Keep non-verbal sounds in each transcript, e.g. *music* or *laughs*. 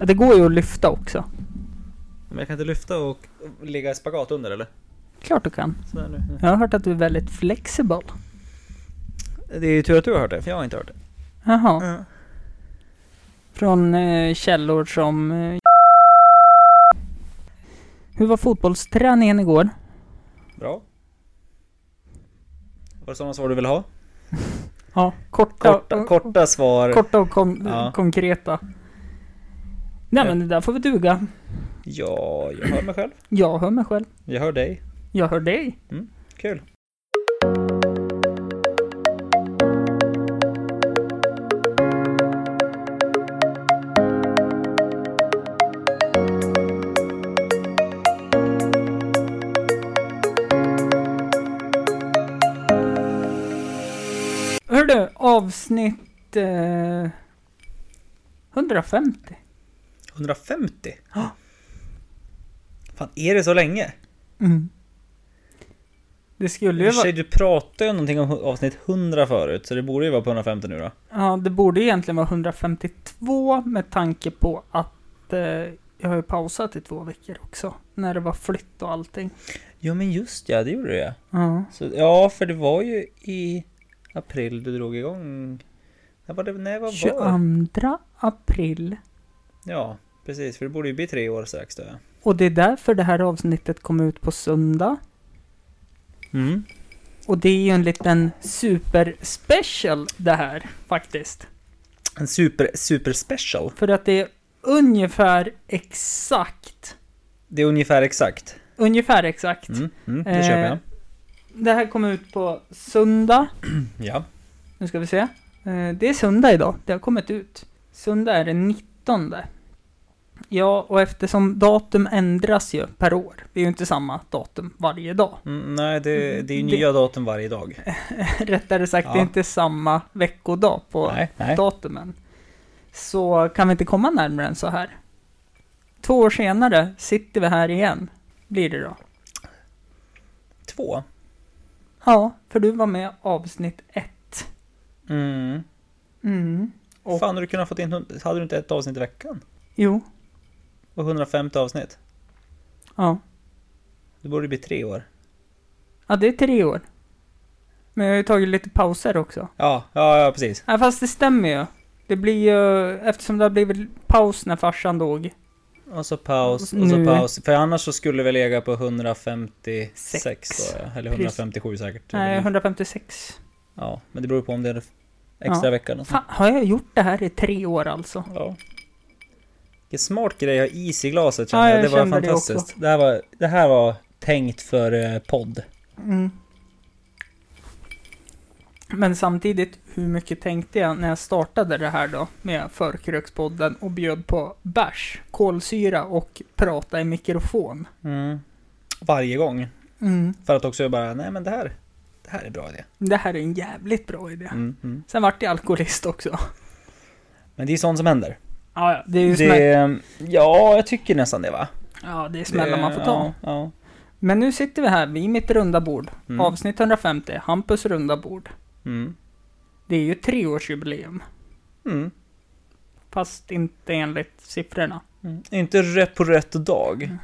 Ja, Det går ju att lyfta också. Men jag kan inte lyfta och och ligga i spagat under eller? Klart du kan. Sådär nu. Jag har hört att du är väldigt flexibel. Det är ju tur att du har hört det, för jag har inte hört det. Jaha. Ja. Från eh, källor som... Eh, hur var fotbollsträningen igår? Bra. Var det sådana svar du ville ha? Ja, korta, Korta, korta svar. korta och kon- Ja. konkreta. Nej men det där får vi duga. Ja, jag hör mig själv. Jag hör mig själv. Jag hör dig. Jag hör dig. Kul. Hör du, avsnitt... Eh, 150. 150? Ja. Fan, är det så länge? Mm. Det skulle I ju och för vara... sig, du pratade ju om någonting om hu- avsnitt 100 förut, så det borde ju vara på 150 nu då. Ja, det borde egentligen vara 152 med tanke på att eh, jag har ju pausat i två veckor också. När det var flytt och allting. Ja, men just ja, det gjorde du ja. Ja. Så, ja, för det var ju i april du drog igång. När var det? Nej, vad var det? 22 april. Ja, precis. För det borde ju bli tre år strax då. ja. Och det är därför det här avsnittet kom ut på söndag. Mm. Och det är ju en liten superspecial det här faktiskt. En super, super special. För att det är ungefär exakt, Det är ungefär exakt. ungefär exakt. Mm, mm, det köper jag. Eh, Det här kom ut på söndag. Ja. Nu ska vi se. Eh, Det är söndag idag. Det har kommit ut. Söndag är den 19. Ja, och eftersom datum ändras ju per år. Det är ju inte samma datum varje dag. *laughs* Mm, nej, det, det är ju Det- nya datum varje dag. Rättare sagt, det Ja. är inte samma veckodag på Nej, nej. datumen. Så kan vi inte komma närmare än så här. Två år senare sitter vi här igen. Blir det då. Två. Ja, för du var med avsnitt ett. Mm. Mm. Och- Fan, hade du kunnat fått in... hund- Hade du inte ett avsnitt i veckan? Jo, Och 150 avsnitt? ja. Det borde ju bli tre år. Ja, det är tre år. Men jag har ju tagit lite pauser också. Ja, ja, ja precis. Ja, fast det stämmer ju. Det blir ju, eftersom det har blivit paus när farsan dog. Och så paus, och Nu. så paus. För annars så skulle vi lägga på 156 Sex. då, ja. Eller Precis. 157 säkert. Nej, 156. Ja, men det beror på om det är en extra Ja. vecka eller något sånt. Fan, har jag gjort det här i tre år alltså? Ja. Vilken smart grej att ha is i glaset Ja, känner jag. jag Det var kände det fantastiskt. också. Det, här var, det här var tänkt för eh, podd. Mm. Men samtidigt, hur mycket tänkte jag när jag startade det här då med Förkrökspodden och bjöd på bärs, kolsyra och prata i mikrofon? Mm. Varje gång. Mm. För att också bara, nej men det här, det här är bra idé. Det här är en jävligt bra idé. Mm, mm. Sen vart jag alkoholist också. Men det är sånt som händer. Ja, ja. Det är ju smä- Det, ja, jag tycker nästan det va? ja, det är smällar man får ta. Ja, ja. Men nu sitter vi här vid mitt runda bord. Mm. Avsnitt 150, Hampus runda bord. Mm. Det är ju treårsjubileum. Mm. Fast inte enligt siffrorna. Mm. Inte rätt på rätt Mm. dag.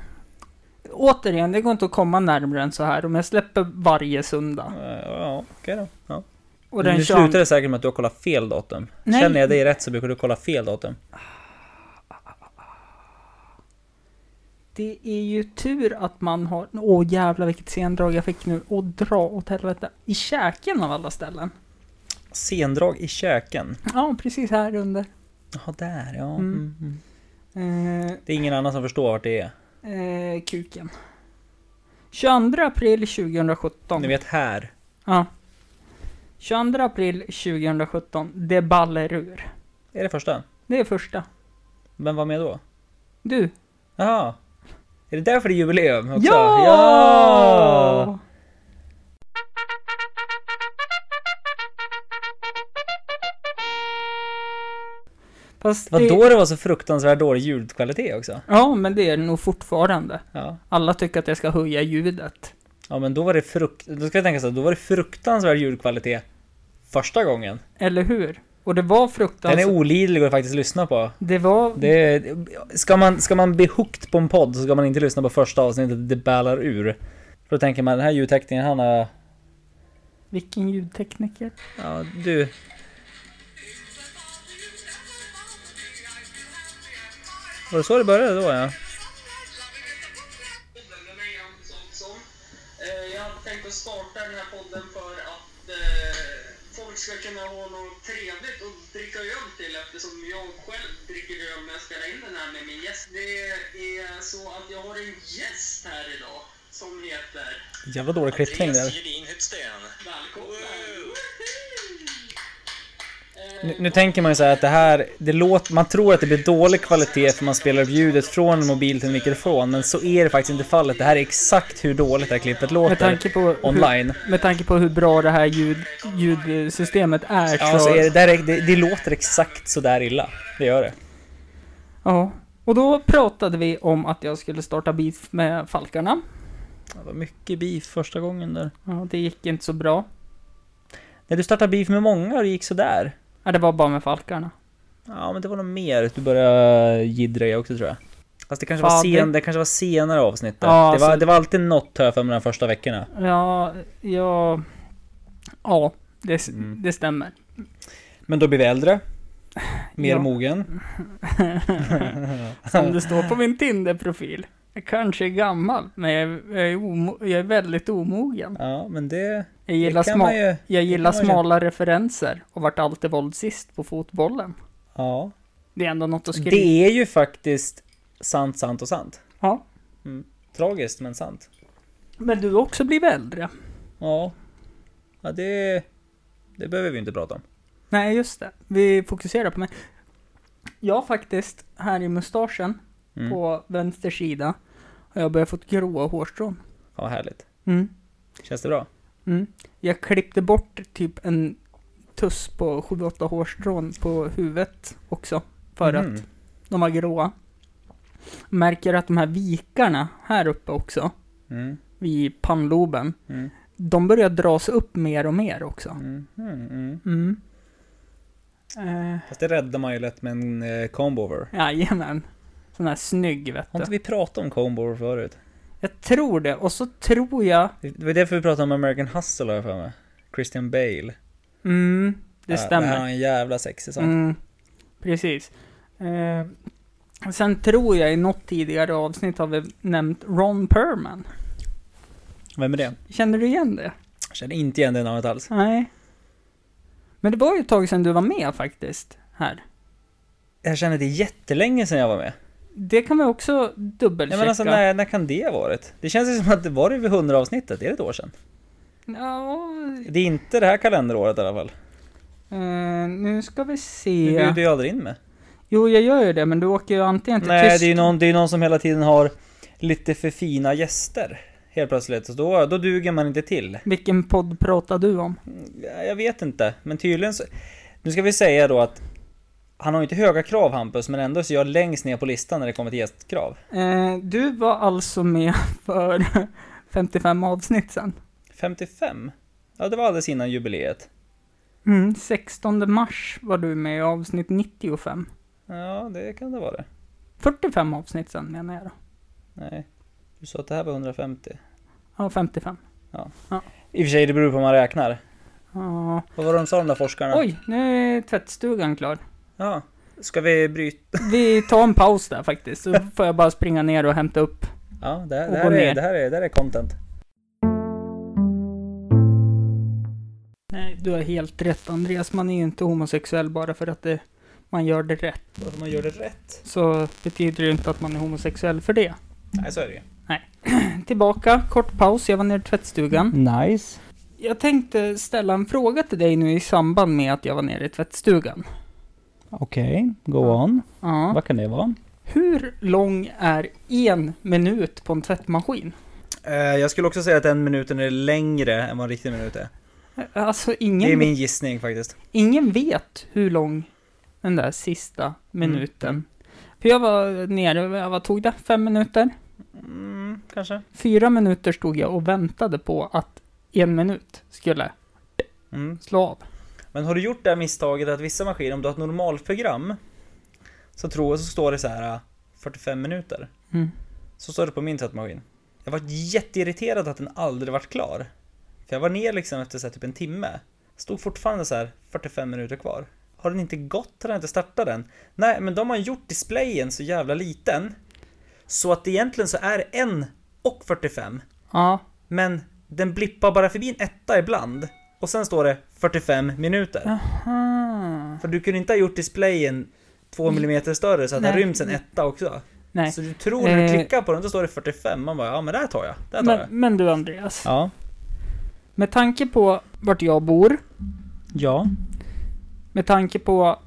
Återigen, det går inte att komma närmare än så här om jag släpper varje söndag. Eh, Ja, okej då. Ja. Och nu den slutar 22... det säkert med att du har kollat fel datum. Nej. Känner jag dig rätt så brukar du kolla fel datum. Det är ju tur att man har... Åh jävlar vilket sendrag jag fick nu. Och dra åt helvete. I käken av alla ställen. Sendrag i käken. Ja, precis här under. Jaha, där ja. Mm. Mm. Mm. Eh, Det är ingen annan som förstår vart det är. eh, kuken. 22 april 2017. Ni vet här. Ja. 22 april 2017, det baller ur. Är det första? Det är första. Vem var med då? Du. Jaha. Är det därför det är jubileum också? Ja! Ja! Fast Det var det... då det var så fruktansvärt dålig ljudkvalitet också. Ja, men det är det nog fortfarande. Ja. Alla tycker att jag ska höja ljudet. Ja men då var det frukt... Då ska jag tänka så här, då var det fruktansvärd ljudkvalitet första gången. Eller hur? Och det var Den fruktansvärt. är olidlig att faktiskt lyssna på. det var... Det är, ska, man, ska man bli hooked på en podd så ska man inte lyssna på första avsnittet, det ballar ur. För då tänker man, den här ljudteknikern han har... Vilken ljudtekniker. Ja, du. Var det så det började då ja? podden, eller är han sånt som. Eh, Jag hade tänkt att starta den här podden för att eh, folk ska kunna ha något trevligt att dricka öl till eftersom jag själv dricker öl när jag spelar in den här med min gäst. Det är så att jag har en gäst här idag som heter Jävla dålig klippning där. Gedin Hyttsten. Välkommen! Eh, Nu, nu tänker man ju så här att det här, det låter, man tror att det blir dålig kvalitet för man spelar upp ljudet från en mobil till en mikrofon, men så är det faktiskt inte fallet. Det här är exakt hur dåligt det här klippet Med tanke låter. på... hur- Online. Med tanke på hur bra det här ljud, ljudsystemet är så... Ja, så är det, där, är- det, det låter exakt så där illa. Det gör det. ja. Och då pratade vi om att jag skulle starta beef med Falkarna. Det var mycket beef första gången där. Ja, det gick inte så bra. När du startade beef med många och det gick sådär. Ja, det var bara med Falkarna. Ja, men det var nog mer. Du började jiddra jag också tror jag. Fast det kanske, var, Fader. sen, det kanske var senare avsnitt. där. Ja, det, var, alltså- det var alltid något hör jag för mig de första veckorna. Ja, ja... Ja, det, Mm. det stämmer. Men då blir vi äldre. Mer Ja. Mm. mogen. Som det står på *laughs* min Tinder-profil. Jag kanske är gammal, men jag är, jag är, omo, jag är väldigt omogen. Ja, men det, Jag det gillar, kan sma, man ju. jag gillar det kan man ju- smala referenser och vart alltid våldsist på fotbollen. Ja. Det är ändå något att skriva. Det är ju faktiskt sant, sant och sant. Mm. Ja. Tragiskt, men sant. Men du har också blivit äldre. Ja. Ja, det... Det behöver vi inte prata om. Nej, just det. Vi fokuserar på mig. Jag har faktiskt, här i mustaschen, Mm. Fan, på vänster sida, har jag börjat få gråa hårstrån. vad härligt. Mm. Känns det bra? Mm. Jag klippte bort typ en tuss på 7-8 hårstrån på huvudet också. För Mm. att de var gråa. Märker att de här vikarna här uppe också, Mm. vid pannloben, Mm. de börjar dras upp mer och mer också. Mm. Mm. Mm. Mm. Eh, Fast det räddar man ju lätt med en eh, combover. jajamän. Sån här snygg vet Har inte du. vi pratat om combover förut? Jag- Jag tror det, och så tror jag... Det var därför vi pratade om American Hustle har jag för mig. Christian Bale. Äh, Mm, det Ja, Det här stämmer. har en jävla sexig sak. Mm, precis. Eh, sen tror jag i något tidigare avsnitt har vi nämnt Ron Perman. Vem är det? Känner du igen det? Jag känner inte igen det namnet alls. Nej. Men det var ju ett tag sedan du var med faktiskt, här. Jag känner det är jättelänge sedan jag var med. Det kan vi också Nej, dubbelchecka. men alltså när, när kan det ha varit? Det känns ju som att det var det vid 100 avsnittet, är det ett år sedan? Ja, Det är inte det här kalenderåret i alla fall. eh, nu ska vi Det bjuder se. ju aldrig in med. Jo, jag gör ju det, men du åker ju antingen till Nej, det är ju Tyskland. någon, det är någon som hela tiden har lite för fina gäster. Helt plötsligt, så då, då duger man inte till. Vilken podd pratar du om? Ja, Jag vet inte, men tydligen så... Nu ska vi säga då att han har ju inte höga krav Hampus, men ändå så är jag längst ner på listan när det kommer till gästkrav. Eh, du var alltså med *laughs* för 55 avsnitt sedan. 55? Ja, det var alldeles innan jubileet. Mm, 16 mars var du med i avsnitt 95. Ja, det kan det vara det. 45 avsnitt sen menar jag då. Nej. Du sa att det här var 150. Ja, 55. I och för sig, det beror på hur man räknar. Ja. Vad var det de sa de där forskarna? Oj, nu är tvättstugan klar. Ja. Ska vi bryta? Vi tar en paus där faktiskt, så får jag bara springa ner och hämta upp. Ja, det här, Och det gå här, ner. är, det här, är, det här är content. Nej, du har helt rätt Andreas. Man är ju inte homosexuell bara för att det, man gör det rätt. Bara för man gör det rätt. Så betyder det ju inte att man är homosexuell för det. Nej, så är det ju. Tillbaka, kort paus. Jag var nere i tvättstugan. Nice. Jag tänkte ställa en fråga till dig nu i samband med att jag var nere i tvättstugan. Okej, Ja. on. Ja. kan det vara? Hur lång är en minut på en tvättmaskin? Eh, jag skulle också säga att en minuten är längre än vad en riktig minut är. Alltså Det är ingen, min gissning faktiskt. ingen vet hur lång den där Mm. sista minuten. För jag var nere, jag var, tog det fem minuter. Mm, kanske. Fyra minuter stod jag och väntade på att en minut skulle Mm. slå av. Men har du gjort det här misstaget att vissa maskiner, om du har ett normalprogram, så tror jag så står det så här äh, 45 minuter. Mm. Så står det på min tvättmaskin. Jag var jätteirriterad att den aldrig vart klar. För jag var ner liksom efter så här, typ en timme. Stod fortfarande så här 45 minuter kvar. Har den inte gått? Har den inte startat den? Nej, men de har gjort displayen så jävla liten. Så att egentligen så är det en och 45. Ja, Men den blippar bara förbi en etta ibland. Och sen står det 45 minuter. aha. För du kunde inte ha gjort displayen 2 millimeter större så att den Mm. Nej. ryms en etta också. Nej. Så du tror när du Eh. klickar på den, då står det 45. Man bara, ja men där tar jag. Där tar jag. Men, men du Andreas, Ja. med tanke på vart jag bor, Ja. med tanke på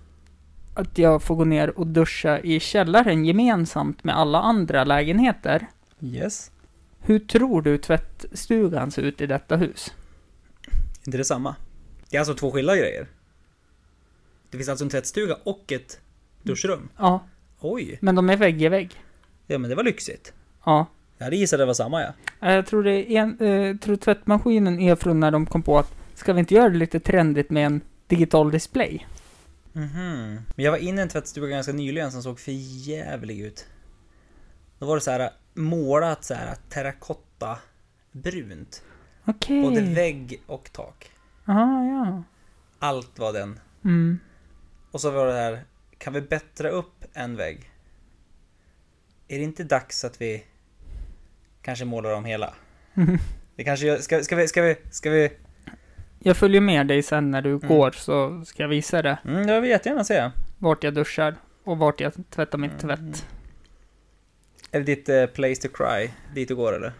att jag får gå ner och duscha i källaren gemensamt med alla andra lägenheter. Yes. Hur tror du tvättstugan ser ut i detta hus? Inte det samma. Det är alltså två skilda grejer. Det finns alltså en tvättstuga och ett duschrum. Ja, Oj. men de är vägg i vägg. Ja men det var lyxigt. Ja. Jag hade gissat det var samma ja. Eh, Jag tror, det är en, eh, jag tror tvättmaskinen är från när de kom på att ska vi inte göra det lite trendigt med en digital display? Mhm. Men jag var inne i en tvättstuga ganska nyligen som såg för jävlig ut. Då var det så här målat så här terrakotta brunt. Okej. Både vägg och tak. Aha, ja. Allt var den. Mm. Och så var det här, kan vi bättra upp en vägg? Är det inte dags att vi kanske målar *laughs* om hela? Vi kanske gör, ska, ska vi, ska vi, ska vi? Jag följer med dig sen när du Mm. går så ska jag visa dig Mm, det vill jag jättegärna se. vart jag duschar och vart jag tvättar mitt Mm. tvätt. Är det ditt eh, place to cry? Dit du går eller?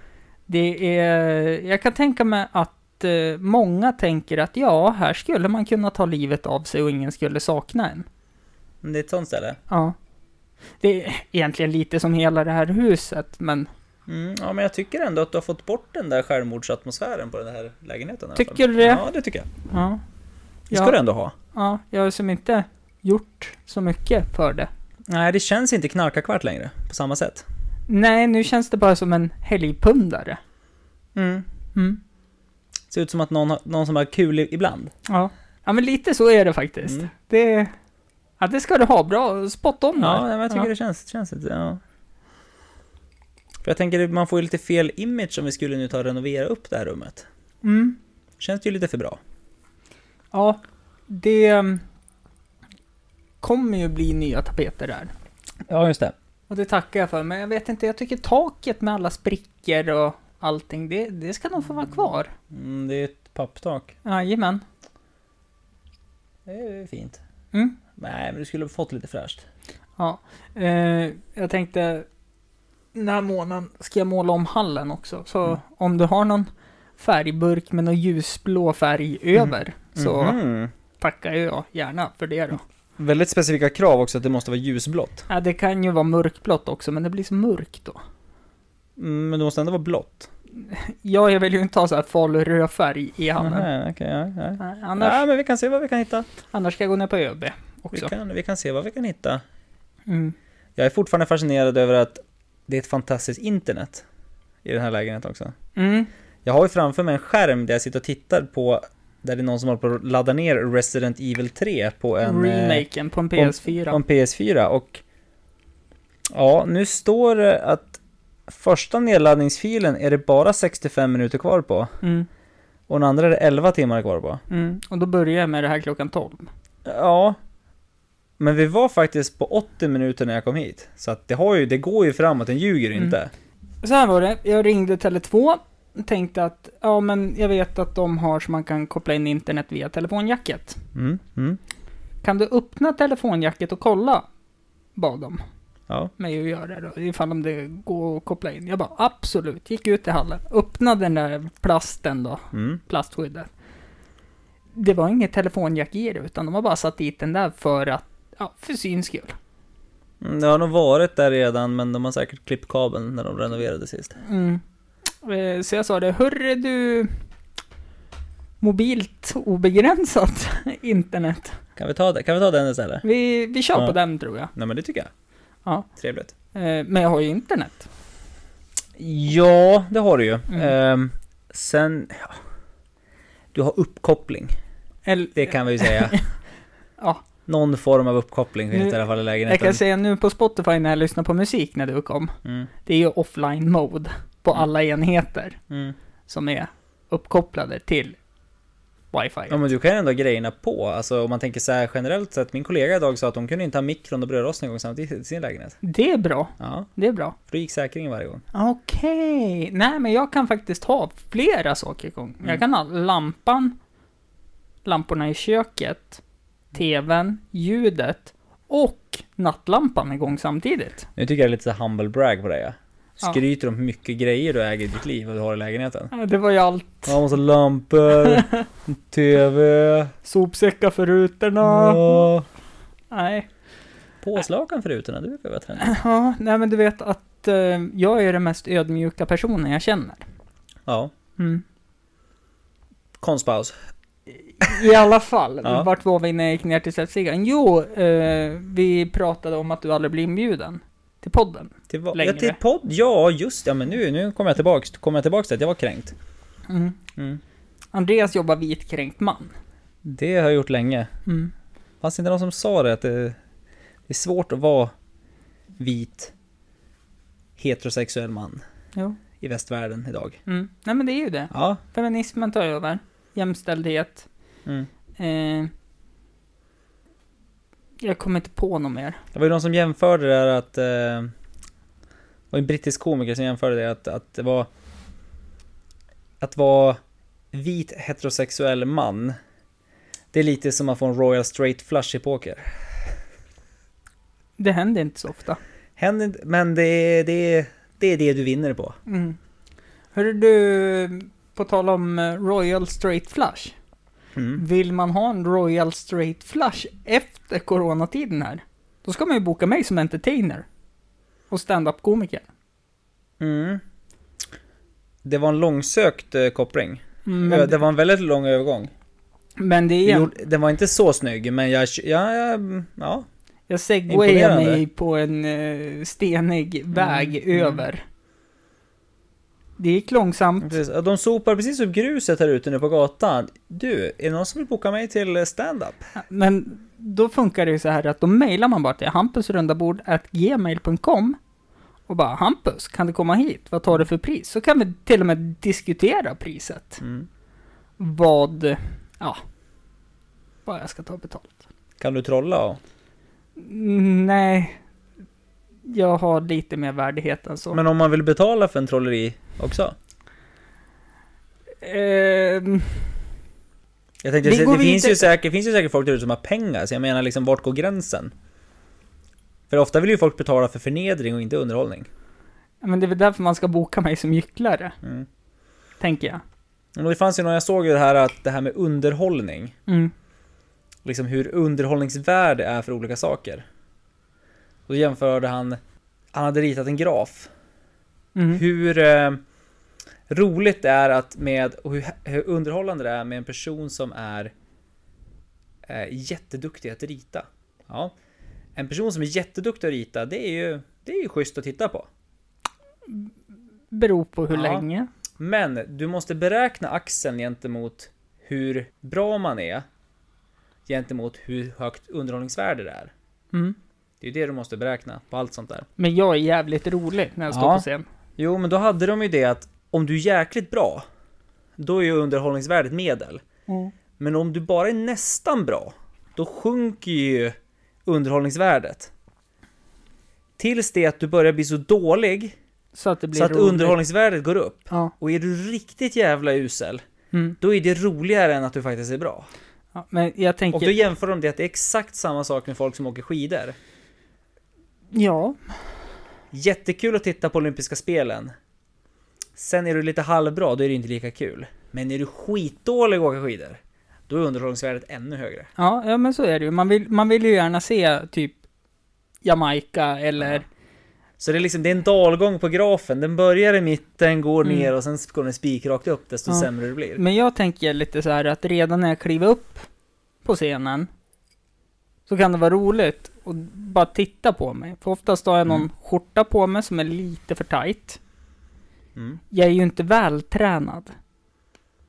Det är, jag kan tänka mig att eh, många tänker att ja, här skulle man kunna ta livet av sig och ingen skulle sakna en. Mm, Det är ett sånt ställe? Ja. Det är egentligen lite som hela det här huset, men Mm, ja, men jag tycker ändå att du har fått bort den där självmordsatmosfären på den här lägenheten. i alla Tycker fall. du det? Ja, det tycker jag. ja. Det ska du Ja, ändå ha. ja, jag har som inte gjort så mycket för det. Nej, det känns inte knarkarkvart längre på samma sätt. Nej, nu känns det bara som en helgpundare. Mm. Mm. Ser ut som att någon, har- någon som har kul i- ibland. Ja. ja, men lite så är det faktiskt. Mm. Det, ja, det ska du ha. Bra spot on Ja, där. nej, men jag tycker det känns, känns lite, ja. För jag tänker, man får ju lite fel image om vi skulle nu ta och renovera upp det här rummet. Mm. Känns det ju lite för bra. Ja, det mm, kommer ju bli nya tapeter där. Ja, just det. Och det tackar jag för, men jag vet inte, jag tycker taket med alla sprickor och allting, det, det ska nog få vara kvar. Mm, det är ett papptak. Jajamän. Det är ju fint. Mm. Nej, men du skulle ha fått lite fräscht. Ja. Eh, jag tänkte, den här månaden ska jag måla om hallen också, så Mm. om du har någon färgburk med någon ljusblå färg över, så Mhm. tackar jag gärna för det då. Väldigt specifika krav också att det måste vara ljusblått. Ja, det kan ju vara mörkblått också, men det blir så mörkt då. Mm, Men det måste ändå vara blått. Ja, jag vill ju inte ha så här farlig röd färg i handen. Nej, okej, ja, nej. Nej, Annars... Annars, nej, men vi kan se vad vi kan hitta. annars ska jag gå ner på ÖB Vi också. kan, vi kan se vad vi kan hitta. Mm. Jag är fortfarande fascinerad över att det är ett fantastiskt internet i den här lägenheten också. Mm. Jag har ju framför mig en skärm där jag sitter och tittar på där det är någon som håller på att ladda ner Resident Evil 3 på en, eh, Remaken på en på en- PS4. på en PS4 och ja, nu står det att första nedladdningsfilen är det bara 65 minuter kvar på Mm, och den andra är det 11 timmar kvar på. mm. Och då börjar jag med det här klockan 12. Ja, men vi var faktiskt på 80 minuter när jag kom hit så att det, har ju, det går ju framåt, den ljuger Mm. inte. Så här var det, jag ringde Tele2 och tänkte att ja men jag vet att de har så man kan koppla in internet via telefonjacket. Mm, mm, Kan du öppna telefonjacket och kolla? Bad de ja. mig att göra då, ifall om det går att koppla in. Jag bara absolut, gick ut i hallen, öppnade den där plasten då, Mm. plastskyddet. Det var inget telefonjack i det, utan de har bara satt dit den där för att, ja, för syns skull. Mm, Det har nog varit där redan, men de har säkert klippt kabeln när de renoverade sist. Mm. Eh, Så jag sa det, hörru du, mobilt obegränsat *laughs* internet. Kan vi ta, det? Kan vi ta den istället? Vi, vi kör Ja. på den tror jag. Nej men det tycker jag. Ja. Trevligt. Eh, Men jag har ju internet. Ja, det har du ju. Mm. Ehm, sen, ja. Du har uppkoppling. Eller, Det kan vi ju *laughs* säga. Ja. Någon form av uppkoppling finns Nu- det i alla fall i jag lägenheten. kan säga nu på Spotify när jag lyssnar på musik när du kom. Mm, Det är ju offline mode på alla enheter mm. som är uppkopplade till wifi. Ja men du kan ju ändå ha grejerna på. Alltså om man tänker så här generellt sett. Min kollega idag sa att de kunde inte ha mikron och brödrosten en gång samtidigt i sin lägenhet. Det är bra. Ja, Det är bra. för då gick säkringen varje gång. Okej. Nej, men jag kan faktiskt ha flera saker igång. Mm. Jag kan ha lampan, lamporna i köket, tvn, ljudet och nattlampan igång samtidigt. Nu tycker jag det är lite så här humble brag på dig. Ja. Ja. Skryter om hur mycket grejer du äger i ditt liv och du har *laughs* i lägenheten. Ja, Det var ju allt. Ja, massa lampor, TV, Sopsäckar för rutorna. ja. Nej. Påslakan för rutorna, det brukar vara trendigt. *clears throat* Ja, nej men du vet att eh, jag är den mest ödmjuka personen jag känner. Ja, Mm. konstpaus. I alla fall, Ja. vart var vi när jag gick ner till tvättstugan? Jo, eh, vi pratade om att du aldrig blir inbjuden till podden. Till, vad- ja, Längre. till podd, ja just det. ja men nu, nu kommer jag tillbaks, kommer jag tillbaks till att jag var kränkt. Mm. Mm. Andreas jobbar vitkränkt man. Det har jag gjort länge. Mm. Fanns det inte någon som sa det att det, det är svårt att vara vit heterosexuell man Jo. i västvärlden idag? Mm. Nej men det är ju det. Ja, Feminismen tar över. Jämställdhet. mm. Eh, jag kommer inte på något mer. Det var ju någon som jämförde det här att... Eh, det var en brittisk komiker som jämförde det att, att det var... Att vara vit heterosexuell man. Det är lite som att få en Royal Straight Flush i poker. Det händer inte så ofta. Händer inte, men det är, det, är, det är det du vinner på. Mm. Hörru du, på tal om eh, Royal Straight Flush. Mm. Vill man ha en Royal Straight Flush efter coronatiden här, då ska man ju boka mig som entertainer. Och stand-up komiker. Mm. Det var en långsökt eh, koppling. Mm, det, Men, var en väldigt lång övergång. men det Det är... gjorde- Den var inte så snygg, men jag... Ja, ja, mm, ja. Jag segwayar Imponerande. mig på en eh, stenig väg mm. över. Det gick långsamt. Precis. Och De sopar precis upp gruset här ute nu på gatan. Du, är det någon som vill boka mig till stand-up? Men då funkar det ju så här att då mejlar man bara till hampusrundabord.gmail.com och bara Hampus, kan du komma hit? Vad tar du för pris? Så kan vi till och med diskutera priset. Mm. Vad, ja, vad jag ska ta betalt. Kan du trolla? och- Mm, Nej, jag har lite mer värdighet än så. Men om man vill betala för en trolleri också? Ehm, Jag tänkte, Vi det, går det, finns vidare. ju säkert, det finns ju säkert folk där ute som har pengar, så jag menar liksom, vart går gränsen? För ofta vill ju folk betala för förnedring och inte underhållning. men det är väl därför man ska boka mig som gycklare, Mm. tänker jag. Och det fanns ju någon, jag såg ju det här att det här med underhållning. Mm. liksom hur underhållningsvärde är för olika saker. Då jämförde han, han hade ritat en graf. Mm. Hur eh, roligt det är att med, och hur, hur underhållande det är med en person som är eh, jätteduktig att rita. Ja. En person som är jätteduktig att rita, det är ju, det är ju schysst att titta på. Beror på hur Ja. länge. Men du måste beräkna axeln gentemot hur bra man är gentemot hur högt underhållningsvärde det är. Mm. Det är ju det du måste beräkna på allt sånt där. Men jag är jävligt rolig när jag står Ja. på scen. Jo, men då hade de ju det att om du är jäkligt bra, då är ju underhållningsvärdet medel. Men om du bara är nästan bra, då sjunker ju underhållningsvärdet. Tills det att du börjar bli så dålig, Så att det blir så att roligt. underhållningsvärdet går upp. Ja. Och är du riktigt jävla usel, Mm. då är det roligare än att du faktiskt är bra. ja. Men jag tänker... Och då jämför de det att det är exakt samma sak med folk som åker skidor. Ja. Jättekul att titta på olympiska spelen. Sen är du lite halvbra, då är det inte lika kul. Men är du skitdålig och åker skidor, då är underhållningsvärdet ännu högre. ja. Ja, men så är det ju. Man vill, man vill ju gärna se typ Jamaica eller... Så det är liksom, det är en dalgång på grafen. Den börjar i mitten, går Mm. ner och sen går den spikrakt upp, desto Ja. sämre du blir. Mm. Men jag tänker lite så här att redan när jag kliver upp på scenen så kan det vara roligt att bara titta på mig. För oftast har jag någon Mm. skjorta på mig som är lite för tight. Mm. Jag är ju inte vältränad.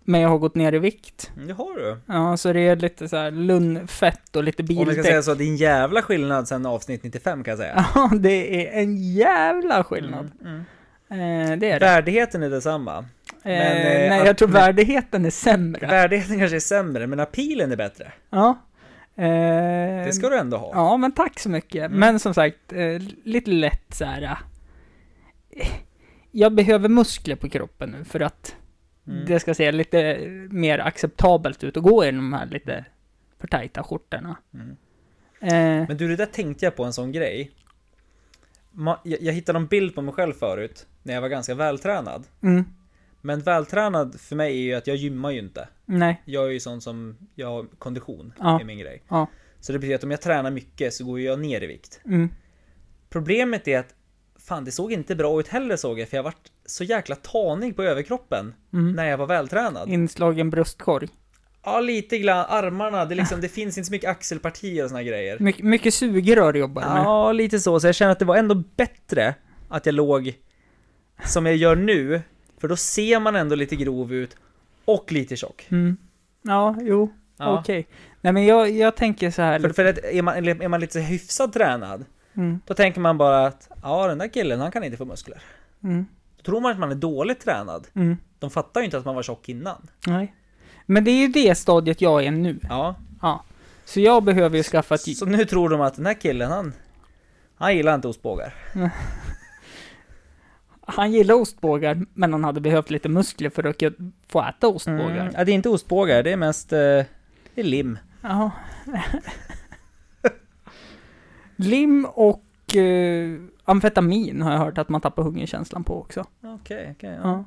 Men jag har gått ner i vikt. Mm, Det har du. Ja, så det är lite så här lunnfett och lite Om vi ska säga bildäck. så, det är en jävla skillnad sen avsnitt 95 kan jag säga. *laughs* Ja, det är en jävla skillnad. Mm, mm. Eh, det är det. Värdigheten är detsamma. men, eh, eh, nej, att- jag tror värdigheten är sämre. Värdigheten kanske är sämre, men appealen är bättre. ja. Eh, Det ska du ändå ha. Ja, men tack så mycket. Mm. Men som sagt, eh, lite lätt så här. eh, Jag behöver muskler på kroppen nu för att Mm. det ska se lite mer acceptabelt ut att gå i de här lite för tajta skjortorna. Mm. Eh, Men du, det där tänkte jag på en sån grej. Ma- jag, jag hittade en bild på mig själv förut, när jag var ganska vältränad. mm, Men vältränad för mig är ju att jag gymmar ju inte. nej, Jag är ju sån som, jag har kondition, Ja. är min grej. Ja. Så det betyder att om jag tränar mycket så går jag ner i vikt. mm, Problemet är att, fan det såg inte bra ut heller såg jag, för jag vart så jäkla tanig på överkroppen mm. när jag var vältränad. Inslagen bröstkorg. Ja, lite grann, armarna, det, är liksom, det finns inte så mycket axelpartier och såna här grejer. My- mycket sugrör jobbar jag med. Ja, lite så. Så jag känner att det var ändå bättre att jag låg som jag gör nu. För då ser man ändå lite grov ut och lite tjock. Mm. Ja, jo, Ja. okej. Nej, men jag, jag tänker så här. För, för att är, man, är man lite så hyfsat tränad, Mm, då tänker man bara att ja, den där killen, han kan inte få muskler. mm, Då tror man att man är dåligt tränad. mm. De fattar ju inte att man var tjock innan. Nej. Men det är ju det stadiet jag är nu. Ja, Ja. Så jag behöver ju skaffa ett... så nu tror de att den här killen, han, han gillar inte ostbågar. Han gillar ostbågar, men han hade behövt lite muskler för att kunna få äta ostbågar. Mm. Ja, det är inte ostbågar, det är mest eh, det är lim. Ja. *laughs* Lim och eh, amfetamin har jag hört att man tappar hungerkänslan på också. Okej, okej. ja. Ja.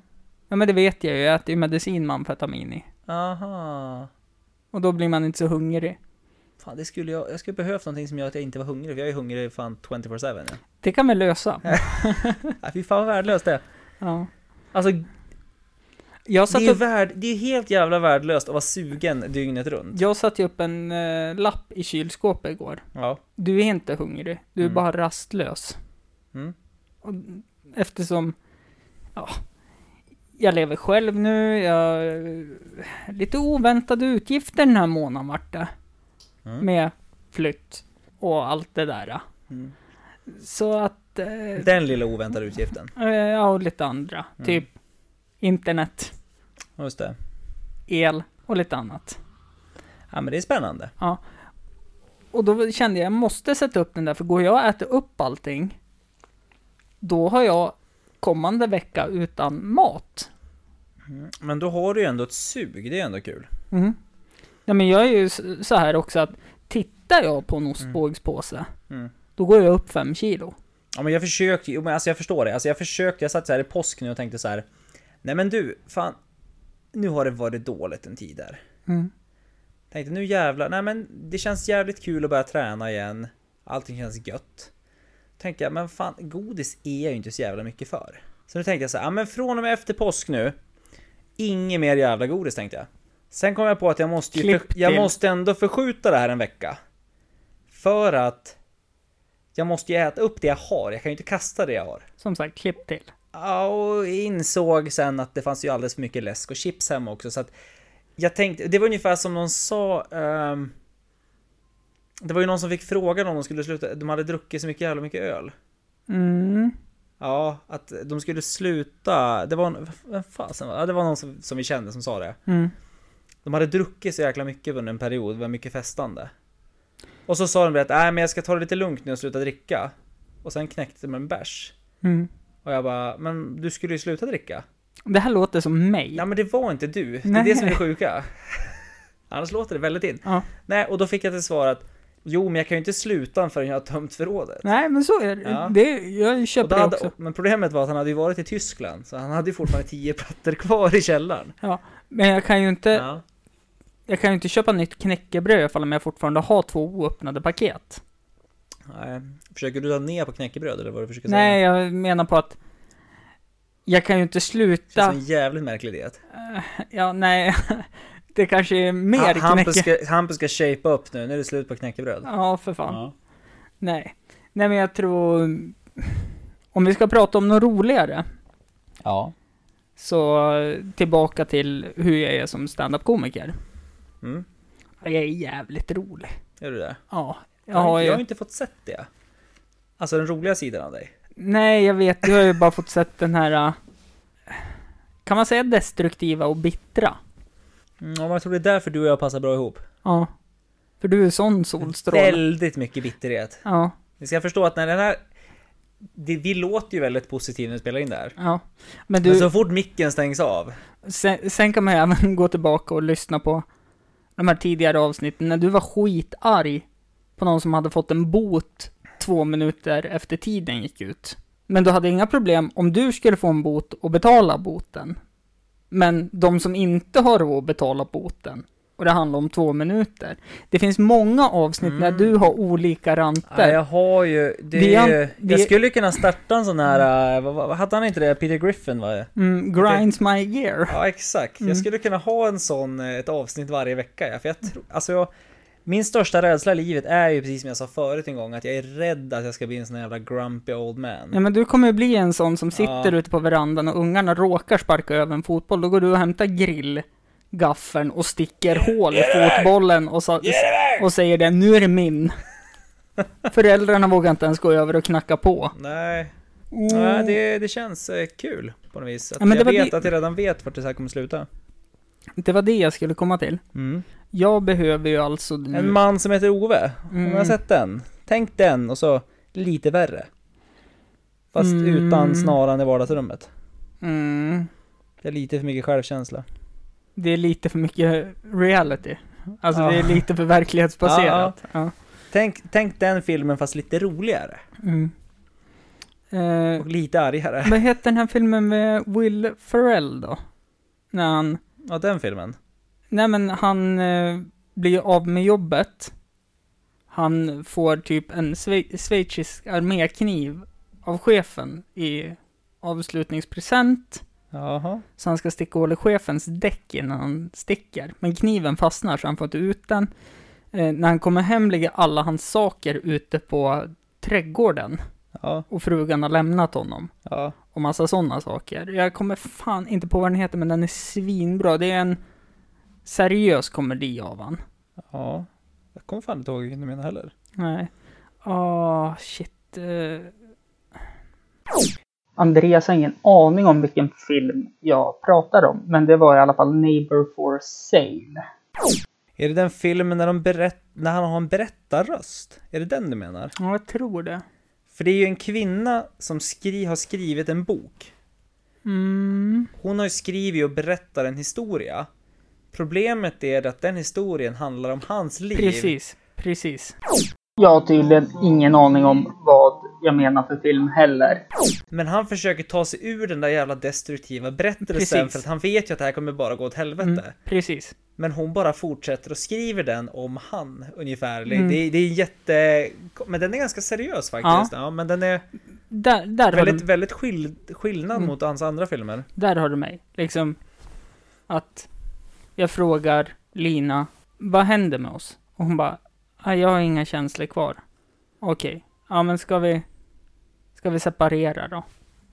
ja, men det vet jag ju. Jag äter ju medicin med amfetamin i. Aha. Och då blir man inte så hungrig. Fan, det skulle jag, jag skulle behövt någonting som gör att jag inte var hungrig, för jag är hungrig fan 24-7 nu. Det kan vi lösa. Nej, fy fan vad värdelöst det är. Ja. Alltså, Jag satte det är, upp, värd, det är helt jävla värdelöst att vara sugen dygnet runt. jag satt ju upp en eh, lapp i kylskåpet igår. Ja. Du är inte hungrig, du är Mm. bara rastlös. Mm. Och eftersom, ja, jag lever själv nu, jag... Lite oväntade utgifter den här månaden vart det. Mm. Med flytt och allt det där. Mm. Så att, eh, Den lilla oväntade utgiften. eh, ja, och lite andra. Mm. Typ internet, Ja, Just det. el och lite annat. Ja, men det är spännande. Och då kände jag, jag måste sätta upp den där, för går jag och äter upp allting, då har jag kommande vecka utan mat. Mm. Men då har du ju ändå ett sug, det är ändå kul. Mm. Ja, men jag är ju s- så här också att tittar jag på en ostbågspåse, Mm. då går jag upp fem kilo. Ja, men jag försökte ju, men alltså jag förstår det. Alltså jag försökte, jag satt så här i påsk nu och tänkte så här. Nej men du, fan. Nu har det varit dåligt en tid där. Mm. Tänkte nu jävlar, nej men det känns jävligt kul att börja träna igen. Allting känns gött. Tänkte jag, men fan godis är jag ju inte så jävla mycket för. Så nu tänkte jag så här, ja men från och med efter påsk nu. Inget mer jävla godis tänkte jag. Sen kom jag på att jag måste ju, Klipp jag till. måste ändå förskjuta det här en vecka. För att jag måste ju äta upp det jag har, jag kan ju inte kasta det jag har. Som sagt, klipp till. Ja, och insåg sen att det fanns ju alldeles för mycket läsk och chips hemma också, så att jag tänkte, det var ungefär som någon sa, ehm, det var ju någon som fick frågan om de skulle sluta, de hade druckit så mycket jävla mycket öl. Mm-hmm. Mm. Ja, att de skulle sluta, det var en, vem fasen var det? Ja, det var någon som, som vi kände som sa det. Mm. De hade druckit så jäkla mycket under en period, det var mycket festande. Och så sa de det att, nej men jag ska ta det lite lugnt nu och sluta dricka. Och sen knäckte de en bärs. Mm. Och jag bara, men du skulle ju sluta dricka. Det här låter som mig. Nej men det var inte du, det är Nej. det som är det sjuka. Annars låter det väldigt in. Ja. Nej, och då fick jag till svar att jo, men jag kan ju inte sluta förrän jag har tömt förrådet. Nej, men så är det. Ja. det jag Och köper då det hade, också. men problemet var att han hade ju varit i Tyskland, så han hade ju fortfarande tio plattor kvar i källaren. Men jag kan ju inte, Ja. jag kan ju inte köpa nytt knäckebröd ifall om jag fortfarande har två oöppnade paket. Nej. Försöker du dra ner på knäckebröd eller vad du försöker Nej, säga? jag menar på att jag kan ju inte Det känns sluta. som en jävligt märklig diet. Ja, nej. *laughs* Det kanske är mer Ha- Hampus knäcke. ska, Hampus ska shape upp nu, nu är det slut på knäckebröd. Ja, för fan. Ja. Nej. Nej, men jag tror... Om vi ska prata om något roligare. ja. Så eh, tillbaka till hur jag är som standup-komiker. Mm. Jag är jävligt rolig. Gör du det? Ja, jag Jag har har, ju... jag har inte fått sett det. Alltså den roliga sidan av dig. Nej, jag vet. Du har ju bara fått sett den här... eh, Kan man säga destruktiva och bittra? Mm, ja, men jag tror det är därför du och jag passar bra ihop. Ja. För du är sån solstråle. Väldigt mycket bitterhet. Ja, Ni ska förstå att när den här... Det, vi låter ju väldigt positivt när vi spelar in det här. ja. Men Men du, så fort micken stängs av. sen, sen kan man ju *laughs* även gå tillbaka och lyssna på de här tidigare avsnitten när du var skitarg på någon som hade fått en bot två minuter efter tiden gick ut. Men du hade inga problem om du skulle få en bot och betala boten. Men de som inte har råd att betala boten, och det handlar om två minuter. Det finns många avsnitt när Mm. du har olika Ja, ranter. jag har ju... Det Vi har- är ju vi- jag skulle ju kunna starta en sån här... äh, Vad, vad, hade han inte det? Peter Griffin va? mm, grinds my gear. Ja, exakt. Mm. Jag skulle kunna ha en sån, eh, ett avsnitt varje vecka. Ja. För jag tror, alltså jag, min största rädsla i livet är ju precis som jag sa förut en gång, att jag är rädd att jag ska bli en sån här jävla grumpy old man. Ja men du kommer ju bli en sån som sitter Ja. ute på verandan och ungarna råkar sparka över en fotboll, då går du och hämtar grillgaffeln och sticker hål i fotbollen och, sa, och säger det, nu är det *laughs* min. Föräldrarna vågar inte ens gå över och knacka på. Nej, Nej det, det känns eh, kul på något vis. Att Mm. Ja, men det jag var vet det- att jag redan vet vart det här kommer sluta. Det var det jag skulle komma till. Mm. Jag behöver ju alltså nu... En Mm. man som heter Ove, om jag Mm. har sett den. Tänk den och så lite värre. Fast Mm. utan snaran i vardagsrummet. mm, Det är lite för mycket självkänsla. det är lite för mycket reality. Alltså Ja. det är lite för verklighetsbaserat. Ja. Tänk, tänk den filmen fast lite roligare Mm. Eh, och lite argare. Vad heter den här filmen med Will Ferrell då? När han, Ja, den filmen. nej men han eh, blir av med jobbet. Han får typ en sve- schweizisk armékniv av chefen i avslutningspresent. Jaha. Så han ska sticka hål i chefens däck innan han sticker. Men kniven fastnar så han får inte ut den. Eh, när han kommer hem ligger alla hans saker ute på trädgården. Ja, Och frugan har lämnat honom. ja. och massa sådana saker. Jag kommer fan inte på vad den heter, men den är svinbra. Det är en seriös komedi av han. Ja. Jag kommer fan inte ihåg vilken du menar heller. Nej. Åh, Ah, shit. eh. Andreas har ingen aning om vilken film jag pratar om, men det var i alla fall Neighbor for Sale. Är det den filmen när, de berätt, när han har en berättarröst? Är det den du menar? Ja, jag tror det. För det är ju en kvinna som skri, har skrivit en bok. Mm. Hon har ju skrivit och berättar en historia. Problemet är att den historien handlar om hans liv. Precis, precis. Jag har tydligen ingen aning om vad jag menar för film heller. Men han försöker ta sig ur den där jävla destruktiva berättelsen Precis. för att han vet ju att det här kommer bara gå åt helvete. Mm, precis. Men hon bara fortsätter och skriver den om han ungefär. Mm. Det, det är jätte... Men den är ganska seriös faktiskt. Ja. men den är Där, där har du väldigt, väldigt skill, skillnad Mm. mot hans andra filmer. Där har du mig. Liksom att jag frågar Lina, vad händer med oss? Och hon bara, "Ah, jag har inga känslor kvar. Okej, ja men ska vi, ska vi separera då?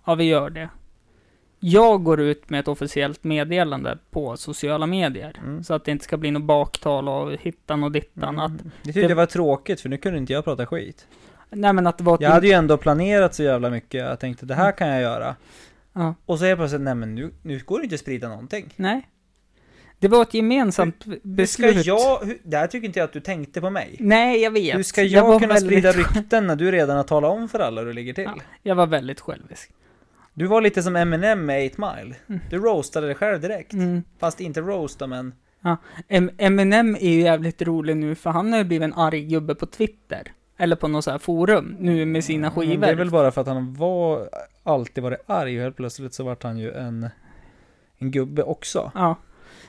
Ja, vi gör det. Jag går ut med ett officiellt meddelande på sociala medier. Mm. Så att det inte ska bli något baktal och hittan och dittan. Att, Mm. Jag tyckte det var tråkigt för nu kunde inte jag prata skit. nej men att det var ett Jag hade ju ändå planerat så jävla mycket. Jag tänkte det här kan jag göra. Ja. Och så är jag plötsligt, nej men nu, nu går det inte att sprida någonting. Nej. Det var ett gemensamt Hur ska beslut. jag... Hur, det här tycker inte jag att du tänkte på mig. Nej, jag vet. Hur ska Jag jag, var kunna väldigt- sprida rykten när du redan har talat om för alla hur du ligger till? Ja. Jag var väldigt självisk. Du var lite som Eminem med 8 Mile. Du roastade dig själv direkt. Mm. Fast inte roasta men... Em- Eminem är ju jävligt rolig nu för han har ju blivit en arg gubbe på Twitter. Eller på något så här forum nu med sina skivor. Men Mm, det är väl bara för att han var, alltid varit arg och helt plötsligt så vart han ju en, en gubbe också. Ja.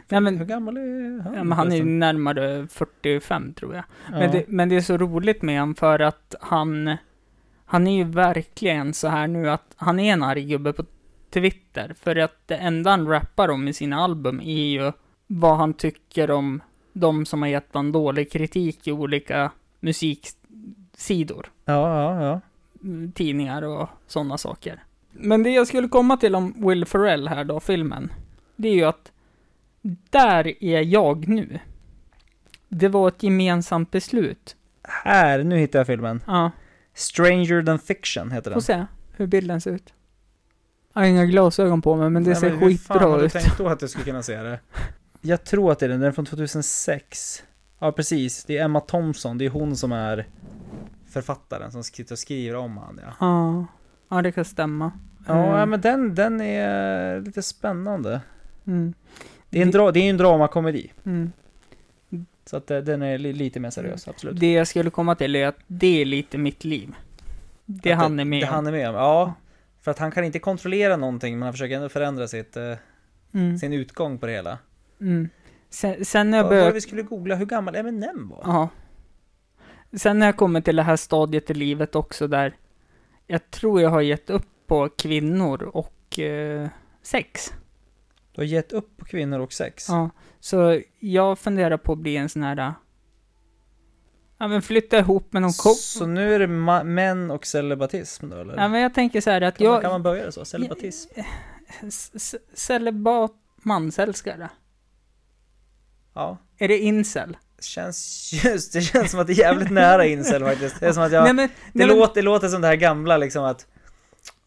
Nej men, Hur gammal är han? ja, men han är ju förresten? närmare 45 tror jag. Men, Ja. det, men det är så roligt med han för att han, han är ju verkligen så här nu att han är en arg gubbe på Twitter. För att det enda han rappar om i sina album är ju vad han tycker om de som har gett han dålig kritik i olika musiksidor. ja, ja, ja. mm, tidningar och sådana saker. Men det jag skulle komma till om Will Ferrell här då, filmen, det är ju att där är jag nu. Det var ett gemensamt beslut. Här, nu hittar jag filmen. Ja, Stranger than fiction heter den. får se hur bilden ser ut. Jag har inga glasögon på mig, men det Nej, ser hur fan skitbra hade du ut. tänkt då att jag skulle kunna se det? Jag tror att det är den, den är från 2006. Ja, precis. Det är Emma Thompson, det är hon som är författaren som sitter och skriver om han ja. Ja, ja det kan stämma. Ja, Mm. ja, men den, den är lite spännande. Mm, Det är en, dra, det är en dramakomedi. mm. Så att eh, den är li, lite mer seriös, absolut. Det jag skulle komma till är att det är lite mitt liv. Det Att han är med Det han är med om, ja. För att han kan inte kontrollera någonting, men han försöker ändå förändra sitt, eh, Mm, sin utgång på det hela. mm. Sen, sen när jag Vad var det började... vi skulle googla hur gammal Eminem var? Ja. Sen när jag kommer till det här stadiet i livet också där jag tror jag har gett upp på kvinnor och eh, sex. Du har gett upp på kvinnor och sex. Ja. Så jag funderar på att bli en sån här... eh, Ja men flytta ihop med någon kompis. Så nu är det ma- män och celibatism då eller? Ja men jag tänker så här att kan, man, jag... kan man börja det så? Celibatism? s- s- Celibat mansälskare. Ja. Är det incel? Känns *laughs* just, det känns som att det är jävligt nära incel faktiskt. Det är som att jag, nej men... det, nej, men- låter, det låter som det här gamla liksom att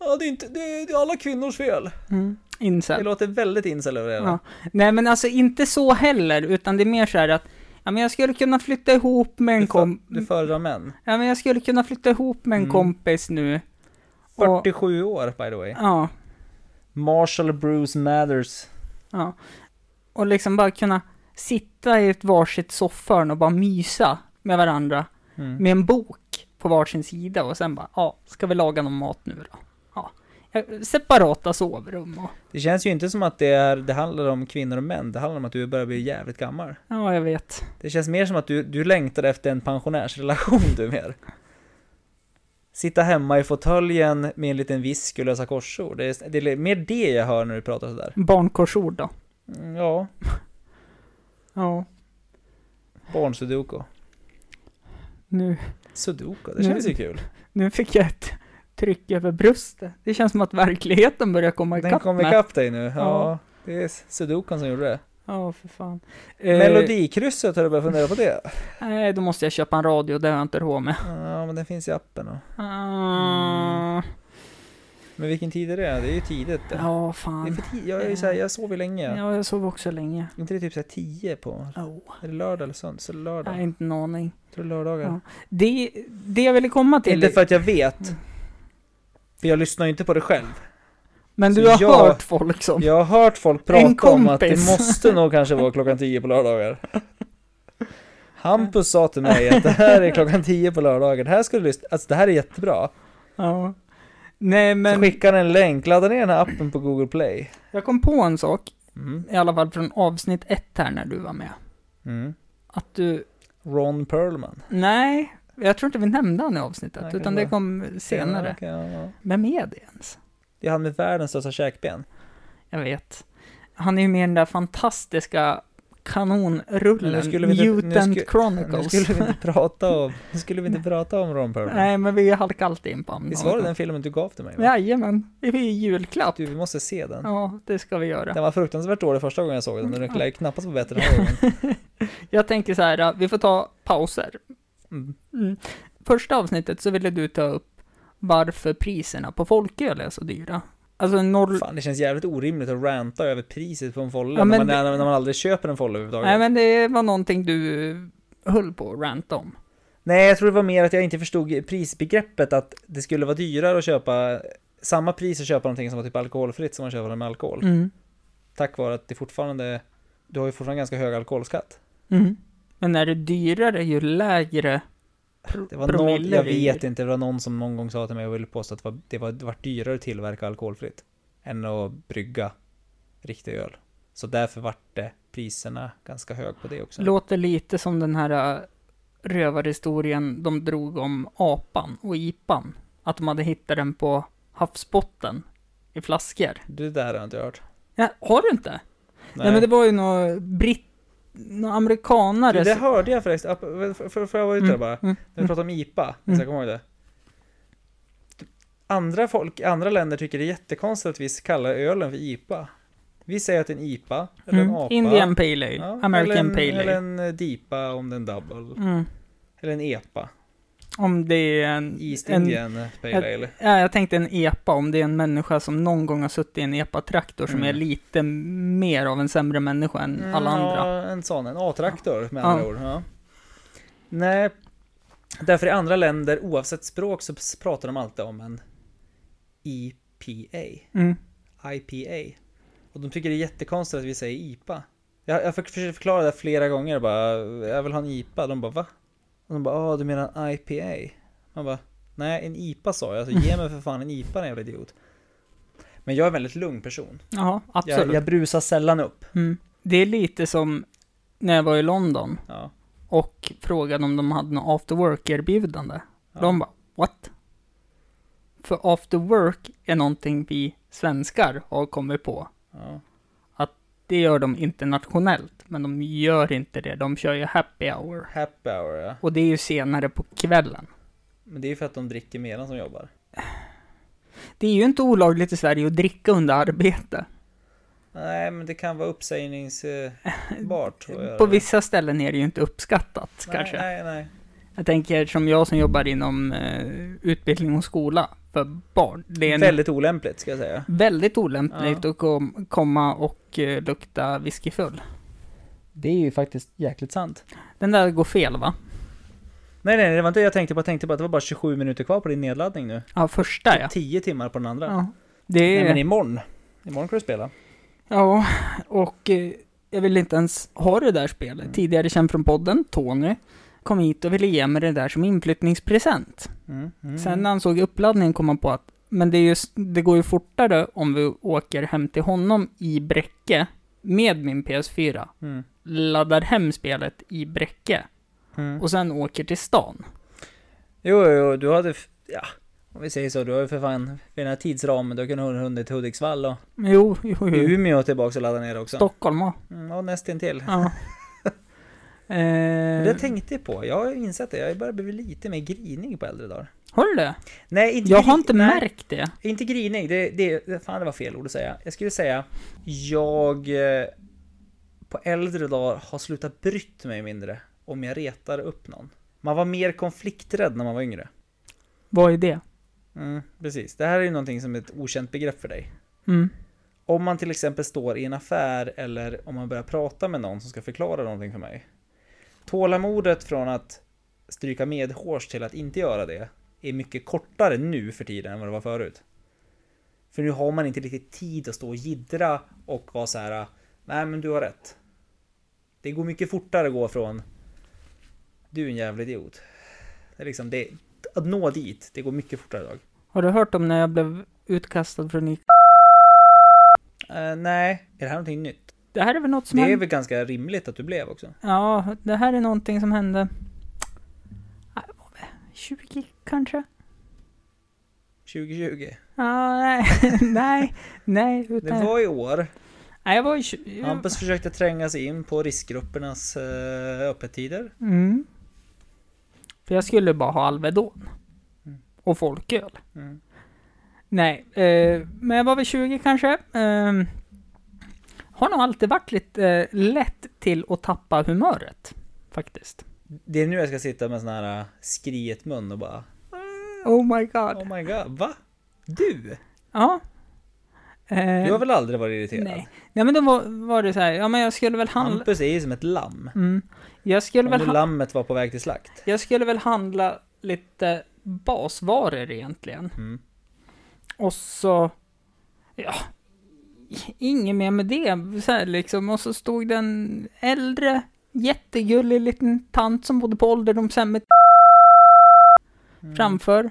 Ja, det är inte, det är, det är alla kvinnors fel. Mm, Det incel. låter väldigt incel över det hela. Ja. Nej men alltså inte så heller, utan det är mer så här att ja, men jag skulle kunna flytta ihop med en Du, för, kom... du föredrar män. Ja men jag skulle kunna flytta ihop med en Mm. kompis nu. Och- 47 år by the way. Ja, Marshall Bruce Mathers. ja. Och liksom bara kunna sitta i ett varsitt soffhörn och bara mysa med varandra. Mm. Med en bok på varsin sida och sen bara, ja, ska vi laga någon mat nu då? Ja. Eh, Separata sovrum och... Det känns ju inte som att det, är, det handlar om kvinnor och män. Det handlar om att du börjar bli jävligt gammal. Ja, jag vet. Det känns mer som att du, du längtar efter en pensionärsrelation du mer. Sitta hemma i fåtöljen med en liten visk och lösa korsord. Det är, det är mer det jag hör när du pratar sådär. Barnkorsord då? Mm, Ja, Ja, barnsudoku. nu... Sudoku, Nu- det känns ju kul. Nu fick jag ett tryck över bröstet. Det känns som att verkligheten börjar komma Den ikapp kom mig. ikapp dig nu. Ja. Ja, det är sudokun som gjorde det. Ja, för fan. Eh, Melodikrysset, har du börjat fundera på det? nej, då måste jag köpa en radio, det har jag inte råd med. Ja, men den finns i appen. Och. Ah, Men vilken tid är det? Det är ju tidigt. Det är Ja, för fan. tid- jag, är ju såhär, jag sover ju länge. Ja, jag sov också länge. Inte det typ såhär 10 på... Oh, Är det lördag eller söndag? Så jag lördag? har inte en aning. Tror du lördagar? Ja. Det, det Mm. jag ville komma till, Inte för att jag vet. För jag lyssnar ju inte på det själv. men du så har jag- hört folk som... Jag har hört folk prata om att det kompis. måste nog kanske vara klockan 10 på lördagar. Hampus sa till mig att det här är klockan 10 på lördagar. Det här ska du lyssna Alltså det här är jättebra. Ja. Nej, Så men skickar han en länk, ladda ner den här appen på Google Play. jag kom på en sak, Mm. i alla fall från avsnitt ett här när du var med. Mm. Att du Ron Perlman. Nej, jag tror inte vi nämnde han i avsnittet, Nej, utan det det var- kom senare. Ja, okej, ja, ja. Vem är det ens? Det är han med världens största käkben. Jag vet. Han är ju med i den där fantastiska Men nu kanonrullen, skulle vi inte- nu Mutant sku- Nu Chronicles. skulle vi inte prata om, nu skulle vi inte prata om Ron Perlman. Nej, men vi halkade alltid in på honom. Visst var det den filmen du gav till mig? va? Jajamän, det är ju julklapp. Du, vi måste se den. Ja, det ska vi göra. Den var fruktansvärt dålig första gången jag såg den, men den lär ju knappast vara bättre den här gången. Jag tänker så här, äh, vi får ta pauser. Mm. Mm. Första avsnittet så ville du ta upp varför priserna på folköl är så dyra. Alltså, norr... Fan, det känns jävligt orimligt att ranta över priset på en folle Ja, när, men man, när, när man aldrig köper en folle överhuvudtaget. Nej, men det var någonting du höll på att ranta om. Nej, jag tror det var mer att jag inte förstod prisbegreppet, att det skulle vara dyrare att köpa samma pris att köpa någonting som var typ alkoholfritt som man köper med alkohol. Mm. Tack vare att det fortfarande, du har ju fortfarande ganska hög alkoholskatt. Mm. Men är det dyrare ju lägre... Det var någon, Promille jag är ju- vet inte, det var någon som någon gång sa till mig och ville påstå att det var, det var, det var dyrare att tillverka alkoholfritt än att brygga riktig öl. Så därför vart det priserna ganska hög på det också. Låter lite som den här äh, rövarhistorien de drog om apan och ipan. Att de hade hittat den på havsbotten i flaskor. Det där har jag inte hört. Ja, har du inte? Nej, men det var ju någon britt... Någon amerikanare Du, det som- hörde jag förresten, app- för, för, för jag var ute där bara, Mm. när vi pratade om IPA, Mm. så jag kommer ihåg det. Andra folk i andra länder tycker det är jättekonstigt att vi kallar ölen för IPA. Vi säger att en IPA, eller en Mm. APA. Indian Pale Ale, ja, eller American en, Pale Eller Ale. en eh, DIPA om den double. Mm. Eller en EPA. Om det är en... East en Indian Pale ett- Ale. ja, jag tänkte en EPA, om det är en människa som någon gång har suttit i en EPA-traktor som Mm. är lite mer av en sämre människa än Mm, alla andra. Ja, en sån, en A-traktor med Ja. andra ord. Ja. Nej, därför i andra länder, oavsett språk, så s- pratar de alltid om en E EPA. Mm. IPA. Och de tycker det är jättekonstigt att vi säger IPA. Jag, jag försökte förklara det här flera gånger bara, jag vill ha en IPA. De bara va? Och de bara, ah du menar en IPA? Man bara, nej en IPA sa jag, alltså ge mig för fan en IPA din jävla idiot. Men jag är en väldigt lugn person. Ja, absolut. Jag, jag brusar sällan upp. Mm. Det är lite som när jag var i London Ja. och frågade om de hade något after work-erbjudande. Ja. De bara, what? För after work är någonting vi svenskar har kommit på. Ja. Det gör de internationellt, men de gör inte det. De kör ju happy hour. Happy hour ja. Och det är ju senare på kvällen. Men det är ju för att de dricker mer än som jobbar. Det är ju inte olagligt i Sverige att dricka under arbete. Nej, men det kan vara uppsägningsbart tror jag. På vissa ställen är det ju inte uppskattat nej, kanske. Nej, nej. Jag tänker som jag som jobbar inom eh, utbildning och skola för barn. Det är en väldigt, Väldigt olämpligt ska jag säga. olämpligt att kom, komma och eh, lukta whiskyfull. Det är ju faktiskt jäkligt sant. Den där går fel va? Nej, nej, det var inte det jag tänkte på. Jag tänkte på att det var bara 27 minuter kvar på din nedladdning nu. Ja, första ja. 10 timmar på den andra. ja. Det Nej, men är, imorgon. Imorgon kan du spela. ja, och eh, jag ville inte ens ha det där spelet. Tidigare känd från podden, Tony, kom hit och ville ge mig det där som inflyttningspresent. Mm, mm. Sen när han såg uppladdningen kom han på att men det, är just, det går ju fortare om vi åker hem till honom i Bräcke med min PS4, Mm. laddar hem spelet i Bräcke Mm. och sen åker till stan. Jo, jo, jo, du hade... f- Ja, om vi säger så. Du har ju för fan... För den här tidsramen, du har kunnat hunnit till Hudiksvall och Jo, jo, jo. Umeå tillbaka och ladda ner också. Stockholm *laughs* också. Mm, och nästintill. Ja. Men Det eh, jag tänkte jag på, jag har ju insett det, jag börjar bli lite mer grinig på äldre dagar. har du det? Nej, inte Jag gri- har inte nej, märkt det. Inte grinig, det, det, det- fan det var fel ord att säga. Jag skulle säga, jag eh, på äldre dagar har slutat brytt mig mindre om jag retar upp någon. Man var mer konflikträdd när man var yngre. Vad är det? Mm, precis. Det här är ju någonting som är ett okänt begrepp för dig. Mm. Om man till exempel står i en affär eller om man börjar prata med någon som ska förklara någonting för mig. Tålamodet från att stryka medhårs till att inte göra det är mycket kortare nu för tiden än vad det var förut. För nu har man inte riktigt tid att stå och jiddra och vara så här. Nej men du har rätt. Det går mycket fortare att gå från du är en jävla idiot. Det är liksom det, att nå dit, det går mycket fortare idag. Har du hört om när jag blev utkastad från Ica? Eh, nej, är det här någonting nytt? Det här är väl något som Det är hände? väl ganska rimligt att du blev också? Ja, det här är någonting som hände... Nej, vad var det? 20 kanske? 2020? Ja, nej, *laughs* nej, nej, Det utan... var i år. Nej, jag var ju tju- Hampus försökte tränga sig in på riskgruppernas eh, öppettider. Mm. För jag skulle bara ha Alvedon. Mm. Och folköl. Mm. Nej, eh, men jag var väl 20 kanske. Eh, har nog alltid varit lite eh, lätt till att tappa humöret. Faktiskt. Det är nu jag ska sitta med sån här eh, skriet mun och bara Oh my god. Oh my god, va? Du? Ja. Du Eh, har väl aldrig varit irriterad? nej. nej, men då var, var det så här, ja men jag skulle väl handla... Hampus är ju som ett lamm. Mm. Jag skulle Om väl det handla... lammet var på väg till slakt. Jag skulle väl handla lite basvaror egentligen. Mm. Och så... Ja, inget mer med det. Så här liksom. Och så stod det en äldre, jättegullig liten tant som bodde på ålderdomshemmet Mm. framför.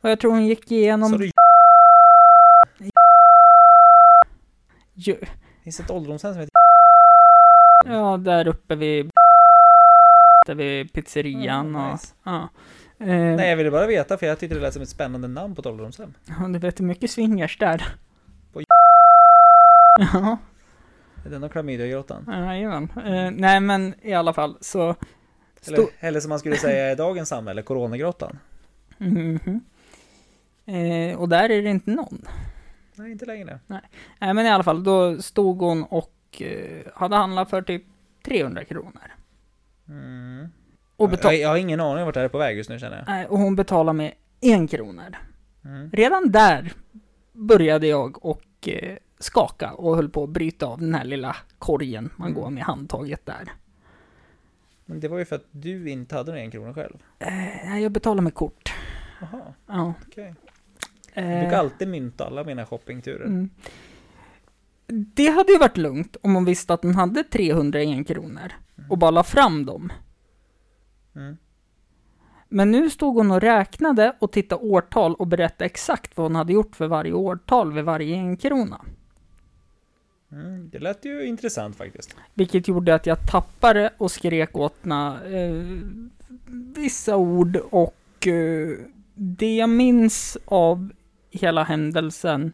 Och jag tror hon gick Sa igenom... du ju- finns ett ålderdomshem som heter Ja, där uppe vid... Där vid pizzerian Mm, och... nice. Ja. Eh, Nej, jag ville bara veta för jag tyckte det lät som ett spännande namn på ett ålderdomshem. ja, Du vet hur mycket swingers där. På- Ja. Är det någon klamydiagrottan? Jajamän. Eh, nej men i alla fall så... Stå... Eller, eller som man skulle säga i dagens samhälle, coronagrottan. Mhm. Eh, och där är det inte någon. Nej, inte längre. Nej, men i alla fall, då stod hon och eh, hade handlat för typ 300 kronor. Mm. Och, betal- jag, jag har ingen aning om vart det här är på väg just nu känner jag. Nej, och hon betalade med en kronor. Mm. Redan där började jag och eh, skaka och höll på att bryta av den här lilla korgen man Mm. går med handtaget där. Men det var ju för att du inte hade någon en krona själv. Eh, nej, jag betalar med kort. Jaha, Ja. okej. eh, Jag brukar alltid mynta alla mina shoppingturer. mm. Det hade ju varit lugnt om hon visste att hon hade 301 kronor och bara la fram dem. Mm. Men nu stod hon och räknade och tittade årtal och berättade exakt vad hon hade gjort för varje årtal vid varje enkrona. Mm. Det lät ju intressant faktiskt. Vilket gjorde att jag tappade och skrek åt na, eh, vissa ord och eh, det jag minns av hela händelsen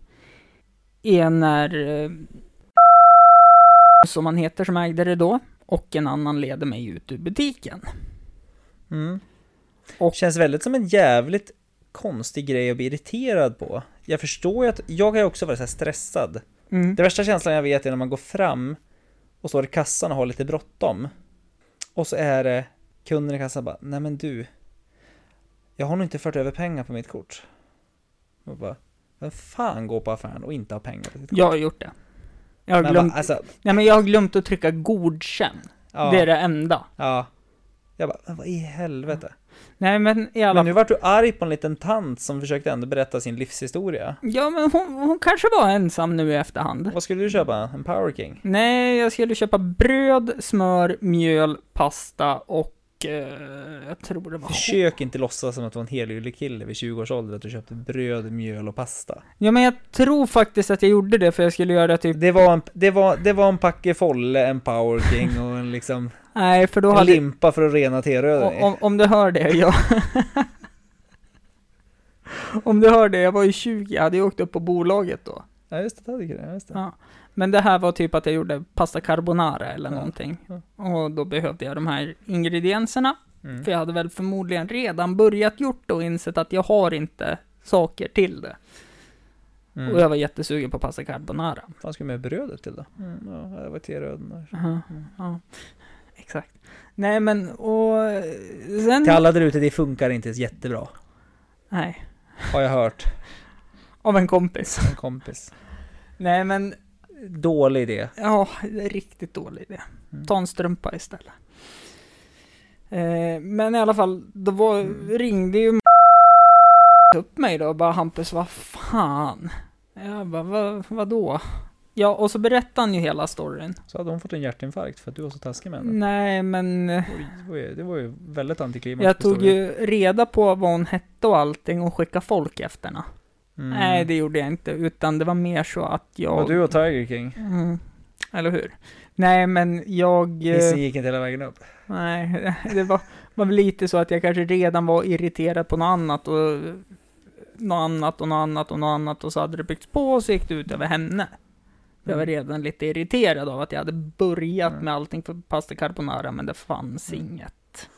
är när eh, som han heter som ägde det då och en annan leder mig ut ur butiken. Mm. Och- Känns väldigt som en jävligt konstig grej att bli irriterad på. Jag förstår ju att, jag har ju också varit så här stressad. Mm. Det värsta känslan jag vet är när man går fram och står i kassan och har lite bråttom. Och så är det kunden i kassan bara, nej men du, jag har nog inte fört över pengar på mitt kort. Och bara, vem fan går på affären och inte har pengar på sitt kort? Jag har gjort det. Jag har, Men glömt, bara, alltså, nej, men jag har glömt att trycka godkänn. ja, Det är det enda. ja. Jag bara, "Men vad i helvete? Nej men i alla Men nu vart du arg på en liten tant som försökte ändå berätta sin livshistoria. Ja men hon, hon kanske var ensam nu i efterhand. Vad skulle du köpa? En Power King? Nej, jag skulle köpa bröd, smör, mjöl, pasta och eh, jag tror det var... Försök inte låtsas som att du var en helylle kille vid 20 års ålder att du köpte bröd, mjöl och pasta. Ja men jag tror faktiskt att jag gjorde det för jag skulle göra typ... Det var en, det var, det var en packe folle, en Power King och en liksom Nej, för *laughs* då en hade... limpa för att rena teröden i. Om, om du hör det, ja. *laughs* om du hör det, jag var ju 20, jag hade ju åkt upp på bolaget då. Ja just det, det hade jag kunnat, just det. Ja. Men det här var typ att jag gjorde pasta carbonara eller Ja, någonting. ja. Och då behövde jag de här ingredienserna. Mm. För jag hade väl förmodligen redan börjat gjort det och insett att jag har inte saker till det. Och Mm. jag var jättesugen på pasta carbonara. Vad ska du med brödet till då? Mm, ja, det var teröden där. Mm. Ja, exakt. Nej men, och eh, sen... Till alla där ute, det funkar inte jättebra. Nej, Har jag hört. av en kompis. En kompis. Nej men, Dålig idé. ja, det är riktigt dålig idé. Mm. Ta en strumpa istället. Eh, men i alla fall, då var, Mm. ringde ju upp mig då och bara Hampus, vad fan? Jag bara, vad, vadå? Ja, och så berättade han ju hela storyn. Så hade hon fått en hjärtinfarkt för att du var så taskig med henne. Nej, men eh, Oj, det var ju, det var ju väldigt antiklimax. jag på tog historien. ju reda på vad hon hette och allting och skickade folk efter henne. Mm. Nej, det gjorde jag inte, utan det var mer så att jag... Var du och Tiger King? Mm, eller hur? Nej, men jag... eh, Hissen gick inte hela vägen upp. Nej, *laughs* det var, var väl lite så att jag kanske redan var irriterad på något annat och något annat och något annat och något annat och så hade det byggts på och så gick det ut över henne. Jag var redan lite irriterad av att jag hade börjat Mm. med allting för pasta carbonara men det fanns Mm. inget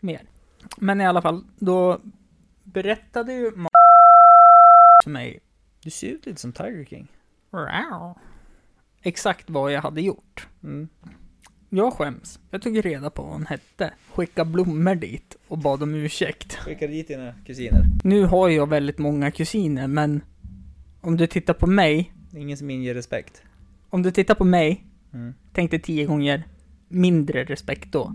mer. Men i alla fall, då berättade ju Ma- för mig Du ser ut lite som Tiger King. Rau. exakt vad jag hade gjort. Mm. Jag skäms. Jag tog reda på vad hon hette, skickade blommor dit och bad om ursäkt. Skickade dit dina kusiner. Nu har jag väldigt många kusiner, men om du tittar på mig, Ingen som inger respekt. om du tittar på mig, Mm. tänkte tio gånger mindre respekt då.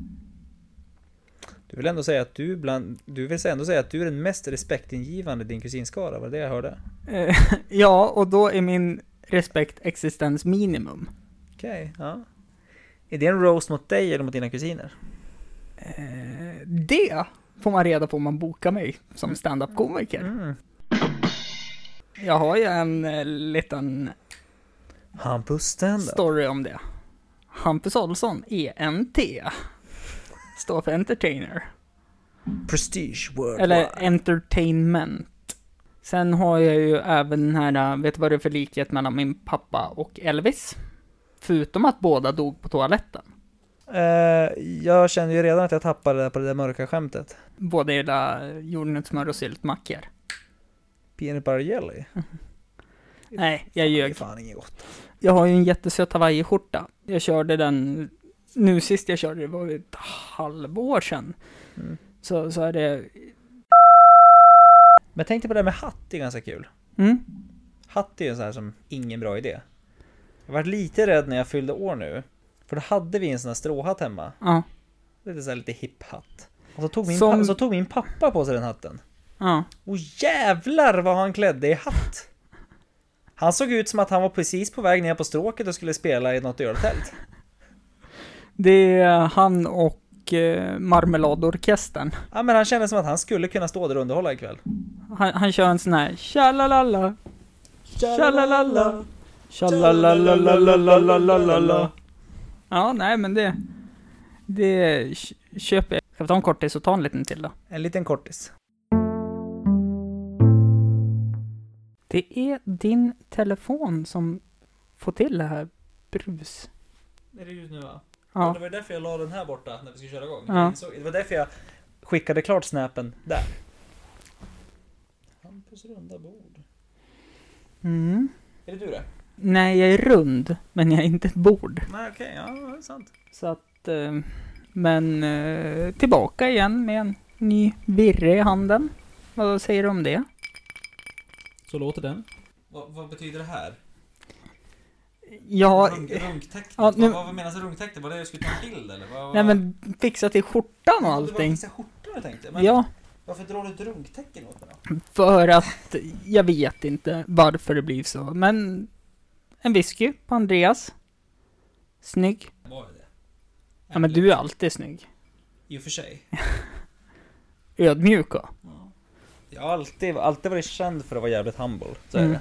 Du vill ändå säga att du bland, du vill ändå säga att du är den mest respektingivande i din kusinskara, var det det jag hörde? Eh, *laughs* ja, och då är min respekt existensminimum. Okej, ja. Är det en roast mot dig eller mot dina kusiner? Eh, det får man reda på om man bokar mig som standup-komiker. Mm. Jag har ju en eh, liten Hampus standup. story om det. Hampus Olsson, ENT. Står för Entertainer. Prestige worldwide. Eller entertainment. Sen har jag ju även den här, äh, vet du vad det är för likhet mellan min pappa och Elvis? Förutom att båda dog på toaletten. Eh, jag känner ju redan att jag tappade det på det där mörka skämtet. Båda gillar jordnötssmör och syltmackor. Peanut butter jelly? Nej, jag Det är ljög. fan inget gott. Jag har ju en jättesöt hawaiiskjorta. Jag körde den, nu sist jag körde det var ju ett halvår sedan. Mm. Så, så är det, Men tänk dig på det här med hatt, det är ganska kul. mm, Hatt är ju en sån här som ingen bra idé. Jag var lite rädd när jag fyllde år nu. För då hade vi en sån här stråhatt hemma. ja, Lite så här lite hipp-hatt. Och så tog, min Som- pa- så tog min pappa på sig den hatten. ja. Och jävlar vad han klädde i hatt! Han såg ut som att han var precis på väg ner på stråket och skulle spela i något öltält. Det är han och eh, Marmeladorkestern. Ja men han kände som att han skulle kunna stå där och underhålla ikväll. Han, han kör en sån här, tjalalala, tjalalala, tjalalalalalalalalala. Ja, nej men det, det k- köper jag. Ska vi ta en kortis och ta en liten till då? En liten kortis. Det är din telefon som får till det här brus. Är det ljus nu va? Ja. Det var därför jag la den här borta när vi skulle köra igång. Ja. Jag insåg- Det var därför jag skickade klart snappen där. Hampus runda bord. Mm. Är det du det? Nej, jag är rund, men jag är inte ett bord. Nej okej, ja det är sant. Så att, eh, men eh, tillbaka igen med en ny virre i handen. Vad säger du om det? Så låter den. Vad, vad betyder det här? Ja, Runk- Runktäktet? Ja, nu- Vad, vad menas med runktäktet? Var det jag skulle ta en bild eller? Vad, nej men fixa till skjortan och Det var allting. vissa skjortor jag tänkte. Men Ja, varför drar du ett runktäcke åt mig då? för att jag vet inte varför det blir så, men en whisky på Andreas. Snygg. Var det det? Ja, men du är alltid snygg. I och för sig. Ödmjuk och. Jag har alltid, alltid varit känd för att vara jävligt humble. Så är Mm. det.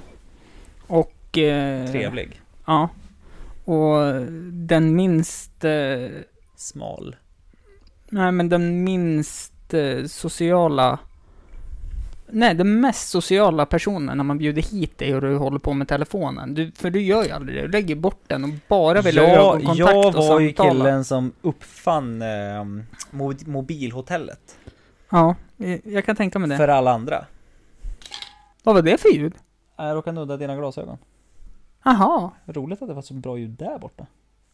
och Mm. eh, Trevlig. Ja. Och den minst... Eh, Smal. nej, men den minst eh, sociala... Nej, den mest sociala personen när man bjuder hit dig och du håller på med telefonen. Du, för du gör ju aldrig det. Du lägger bort den och bara vill ha Jag, ögonkontakt jag och samtala. var ju killen som uppfann eh, mo- mobilhotellet. Ja, eh, jag kan tänka mig det. För alla andra. Vad var det för ljud? Jag råkade nudda dina glasögon. Aha, Roligt att det var så bra ljud där borta.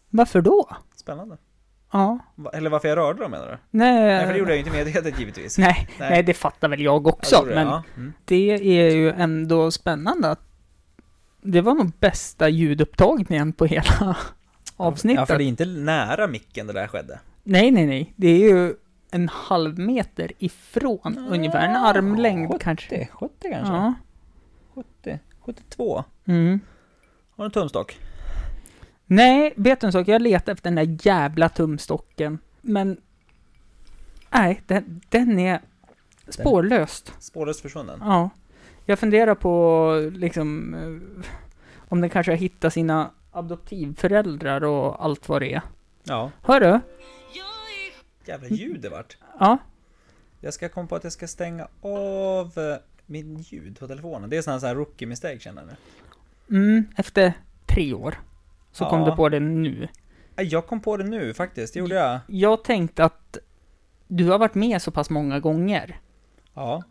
varför då? Spännande. Ja. Va- Eller varför jag rörde dem menar du? Nej, Nej, för det gjorde jag ju inte medvetet givetvis. nej, Nej. nej, det fattar väl jag Jag också. gjorde det, men ja. Mm. Det är ju ändå spännande att det var nog bästa ljudupptagningen på hela Ja, avsnittet. för det är inte nära micken det där skedde. Nej, nej, nej. Det är ju en halv meter ifrån, ungefär en armlängd kanske. 70, 70 kanske? Ja. 70, 72. Mm. Har du en tumstock? Nej, vet du en sak? Jag letade efter den där jävla tumstocken, men... Nej, den, den är spårlöst. Spårlöst försvunnen. Ja. Jag funderar på liksom eh, om den kanske har hittat sina adoptivföräldrar och allt vad det är. Ja. Hör du? Jävla Mm. ljud det vart. Ja. Jag ska komma på att jag ska stänga av eh, min ljud på telefonen. Det är sån här, sån här rookie mistake känner jag nu. Mm, efter tre år. Så kom Ja. du på det nu. Nej, Jag kom på det nu faktiskt, det gjorde jag. Jag tänkte att du har varit med så pass många gånger. Ja.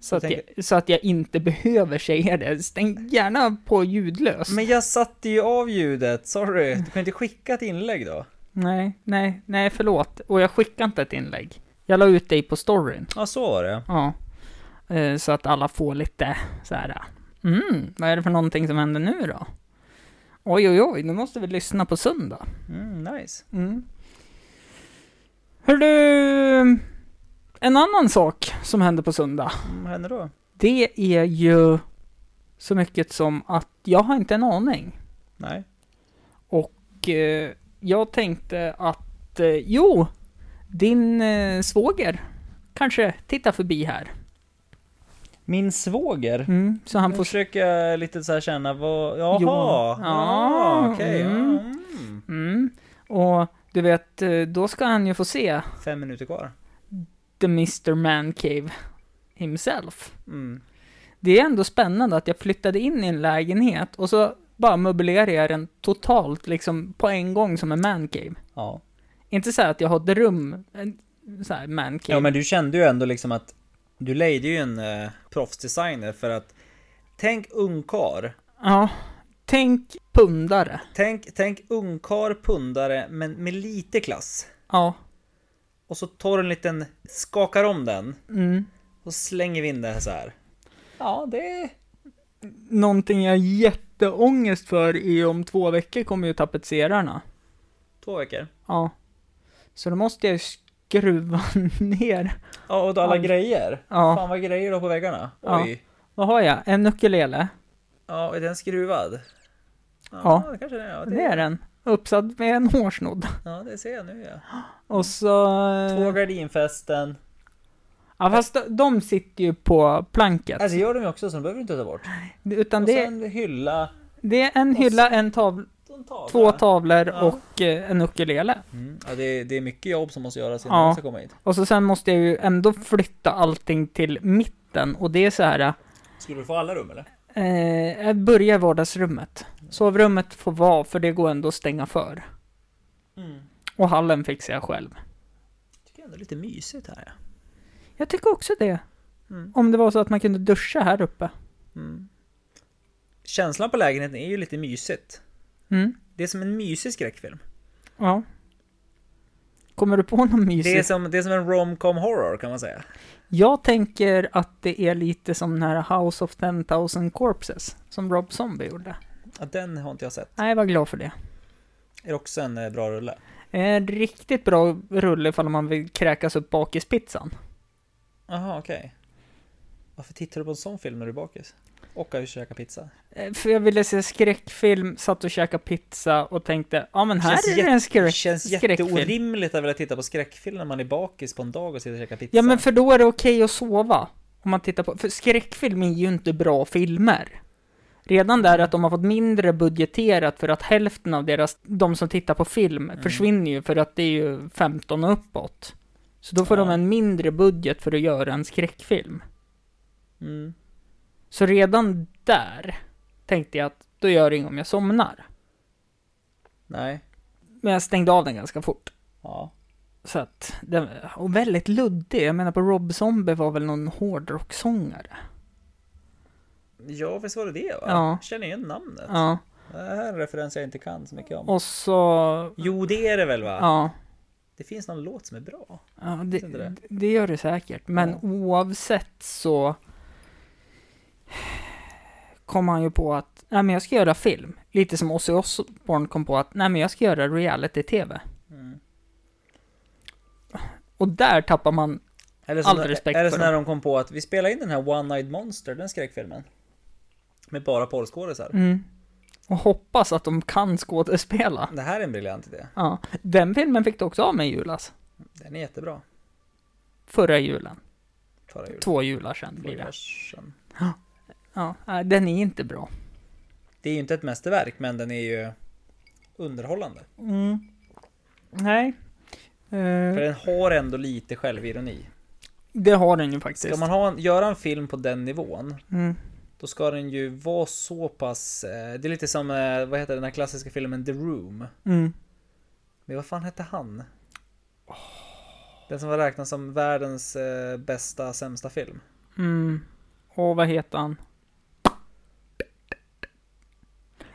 Så Jag att, jag, så att jag inte behöver säga det. Stäng gärna på ljudlöst. Men jag satte ju av ljudet, sorry. Du kan inte skicka ett inlägg då? Nej, nej, nej, förlåt. Och jag skickade inte ett inlägg. Jag la ut dig på storyn. Ja, så var det. Ja. Eh, Så att alla får lite så här. Mm, vad är det för någonting som händer nu då? Oj, oj, oj, nu måste vi lyssna på söndag. Mm, nice. Mm. Hördu, en annan sak som händer på söndag. Mm, Vad händer då? Det är ju så mycket som att jag har inte en aning. Nej. Och eh, jag tänkte att, eh, jo, din eh, svåger kanske tittar förbi här. Min svåger. Mm, så han Nu får försöker jag lite så här känna vad... Jaha! Johan. Ah, Ja, okej. mm. Ja, mm. Mm. Och du vet, eh, då ska han ju få se Fem minuter kvar. The Mr. Man Cave himself. Mm. Det är ändå spännande att jag flyttade in i en lägenhet och så bara möblerade jag den totalt liksom på en gång som en man cave. Ja. Inte så här att jag har ett rum, en så här man cave. ja, men du kände ju ändå liksom att... Du lejde ju en eh, proffsdesigner för att Tänk ungkar. Ja. Tänk pundare. Tänk, tänk ungkar, pundare, men med lite klass. Ja. Och så tar du en liten, skakar om den Mm. och slänger vi in det här så här. Ja, det... Någonting jag har jätteångest för är om två veckor kommer ju tapetserarna. Två veckor. Ja. Så då måste jag ju skruva *laughs* ner. Ja, och då alla Ja. grejer. Ja. Fan vad grejer du har på väggarna. Ja. Oj. Vad har jag? En ukulele. Ja, är den skruvad? Ja. det kanske den är. Ja, det, Det är den. Uppsatt med en hårsnodd. ja, det ser jag nu ja. Och så... eh, Två gardinfästen. Ja, fast de- de sitter ju på planket. Alltså gör de ju också så de behöver du inte ta bort. Utan Och det, sen hylla. det är en och hylla, en tavla, De tavlor. två tavlor Ja. och eh, en ukulele. Mm. Ja, det, är, det är mycket jobb som måste göras Ja. innan de ska komma hit. Och så sen måste jag ju ändå flytta allting till mitten och det är så här. Skulle du få alla rum eller? Eh, jag börjar i vardagsrummet. Sovrummet får vara för det går ändå att stänga för. Mm. Och hallen fixar jag själv. Tycker jag ändå lite mysigt här ja. Jag tycker också det. Mm. Om det var så att man kunde duscha här uppe. Mm. Känslan på lägenheten är ju lite mysigt. Mm. Det är som en mysig skräckfilm. Ja. Kommer du på något mysigt? Det är som, det är som en romcom horror kan man säga. Jag tänker att det är lite som den här House of 10,000 Corpses som Rob Zombie gjorde. Ja, den har inte jag sett. Nej, jag var glad för det. Är det också en eh, bra rulle? En riktigt bra rulle ifall man vill kräkas upp bakispizzan. Jaha, okej. Varför tittar du på en sån film när du är bakis? Och har ju käkat pizza. Eh, För jag ville se skräckfilm, satt och käkade pizza och tänkte, ja men här Känns är det jätte- en skräck, Det känns skräckfilm. jätteorimligt att vilja titta på skräckfilm när man är bakis på en dag och sitter och käkar pizza. Ja men för då är det okej att sova. Om man tittar på, för skräckfilm är ju inte bra filmer. Redan där att de har fått mindre budgeterat för att hälften av deras, de som tittar på film försvinner ju för att det är ju 15 och uppåt. Så då får Ja. de en mindre budget för att göra en skräckfilm. Mm. Så redan där tänkte jag att då gör det inget om jag somnar. Nej. Men jag stängde av den ganska fort. Ja. Så att, den, och väldigt luddig. Jag menar på Rob Zombie var väl någon hårdrocksångare. Ja, visst var det det va? Ja. Känner igen namnet. Ja. Det här är en referens jag inte kan så mycket om. Och så... Jo, det är det väl va? Ja. Det finns någon låt som är bra. ja det, Inte det? det gör det säkert. Men Ja. oavsett så... Kom han ju på att, nej men jag ska göra film. Lite som Ozzy Osbourne kom på att, nej men jag ska göra reality-tv. Mm. Och där tappar man, Eller All respekt Eller för så dem. när de kom på att vi spelar in den här One Night Monster, den skräckfilmen. Med bara porrskådisar. mm, och hoppas att de kan skådespela. Det här är en briljant idé. Ja. Den filmen fick du också av mig i julas. Den är jättebra. Förra julen. Förra julen. Två jular sedan blir det. Voyagen. Ja, nej, den är inte bra. Det är ju inte ett mästerverk, men den är ju underhållande. Mm. Nej. För Eh, den har ändå lite självironi. det har den ju Ska faktiskt. man ha en, göra en film på den nivån, Mm. då ska den ju vara så pass... Eh, det är lite som, eh, vad heter den här klassiska filmen The Room? Mm. Men vad fan hette han? Den som var räknad som världens eh, bästa, sämsta film. Mm. Och vad heter han?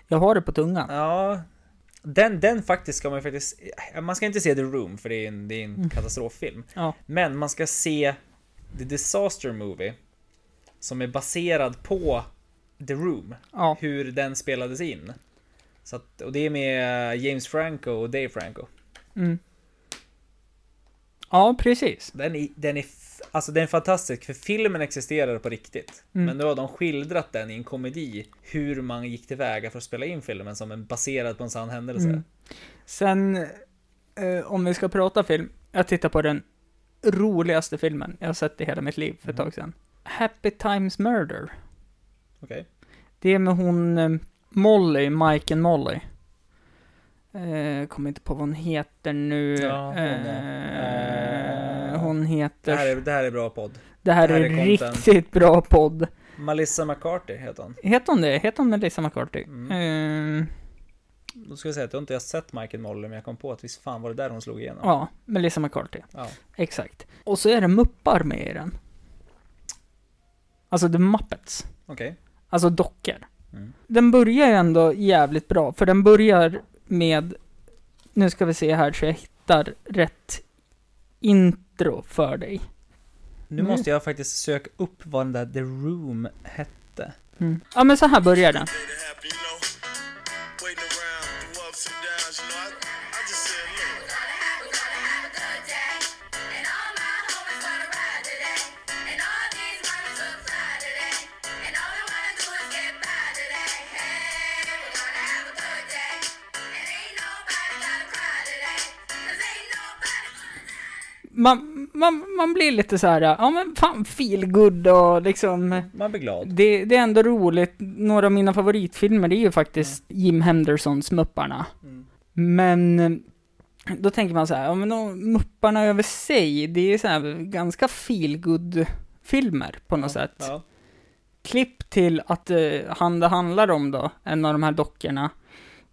Jag har det på tungan. Ja, den, den faktiskt ska man ju faktiskt... eh, Man ska inte se The Room, för det är en, det är en katastroffilm. Ja. Men man ska se The Disaster Movie, som är baserad på The Room. Ja. hur den spelades in. Så att, och det är med James Franco och Dave Franco. Mm. Ja, precis. Den är, den är, f- alltså den är fantastisk, för filmen existerar på riktigt. Mm. Men nu har de skildrat den i en komedi, hur man gick tillväga för att spela in filmen som en baserad på en sann händelse. Mm. Sen, eh, om vi ska prata film. Jag tittar på den roligaste filmen jag har sett i hela mitt liv för ett tag sedan. Happy Times Murder. Okej. Det är med hon eh, Molly, Mike and Molly. Eh, kommer inte på vad hon heter nu. Ja, hon är- eh, hon Det, heter... här är, det här är bra podd. det här är är en content. riktigt bra podd. Melissa McCarthy heter hon. Heter hon det? Heter hon Melissa McCarthy? Mm. Eh, Då ska jag säga att jag inte har sett Michael Moller, men jag kom på att visst fan var det där hon slog igenom. ja, Melissa McCarthy. Ja. Exakt. Och så är det muppar med i den. Alltså The Muppets. Okej. Alltså dockor. Mm. Den börjar ju ändå jävligt bra, för den börjar med, nu ska vi se här så jag hittar rätt intro för dig. Nu Mm. måste jag faktiskt söka upp vad den där The Room hette. Mm. Ja men så här börjar den. Made it happen, you know. Waiting around through ups and downs, you know. I, I just said, look. Man, man, man blir lite så här, ja men fan feel good och liksom Man blir glad. det, det är ändå roligt, några av mina favoritfilmer det är ju faktiskt Jim Hendersons Mupparna. Mm. Men eh, då tänker man så här, ja men de Mupparna över sig, det är ju så här ganska feel good filmer på något sätt. Ja. Klipp till att eh, han det handlar om då, en av de här dockorna,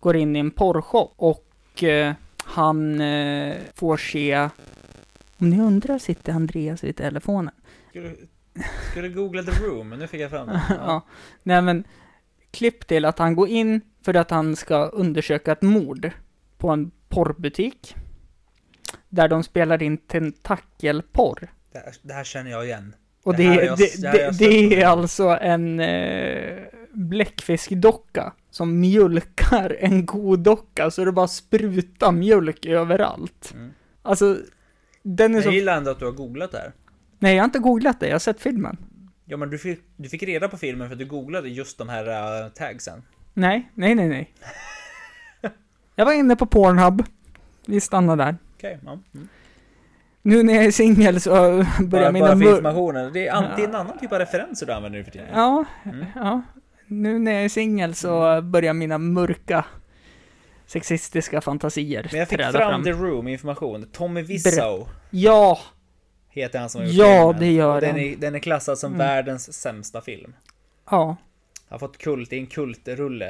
går in i en porrshop och eh, han eh, får se, om ni undrar sitter Andreas vid telefonen. Skulle, skulle googla The Room, men nu fick jag fram det. *laughs* Ja. Nej men, klipp till att han går in för att han ska undersöka ett mord på en porrbutik. Där de spelar in tentakelporr. Det, här, det här känner jag igen. Och Det det, här har det, jag- det det, här har det, jag stött på. är alltså en eh, bläckfiskdocka som mjölkar en kodocka så det bara sprutar mjölk överallt. Mm. Alltså, den är Jag så... gillar ändå att du har googlat det här. Nej, jag har inte googlat det, jag har sett filmen. Ja, men du fick, du fick reda på filmen för att du googlade just de här äh, tagsen. Nej, nej, nej, nej. *laughs* jag var inne på Pornhub. Vi stannar där. Okej, ja. Mm. Nu när jag är singel så börjar Bara, mina... bara för mör- informationen. Det är, an, det är en annan typ av referenser du använder nu för tiden. Ja, Mm. ja. Nu när jag är singel så börjar mina mörka sexistiska fantasier Men jag fick träda fram, The Room information. Tommy Wiseau Ja, heter han som har gjort Ja, filmen. det gör Och den. han. Mm. Är, den är klassad som världens sämsta film. ja. Har fått kult, det är en kultrulle.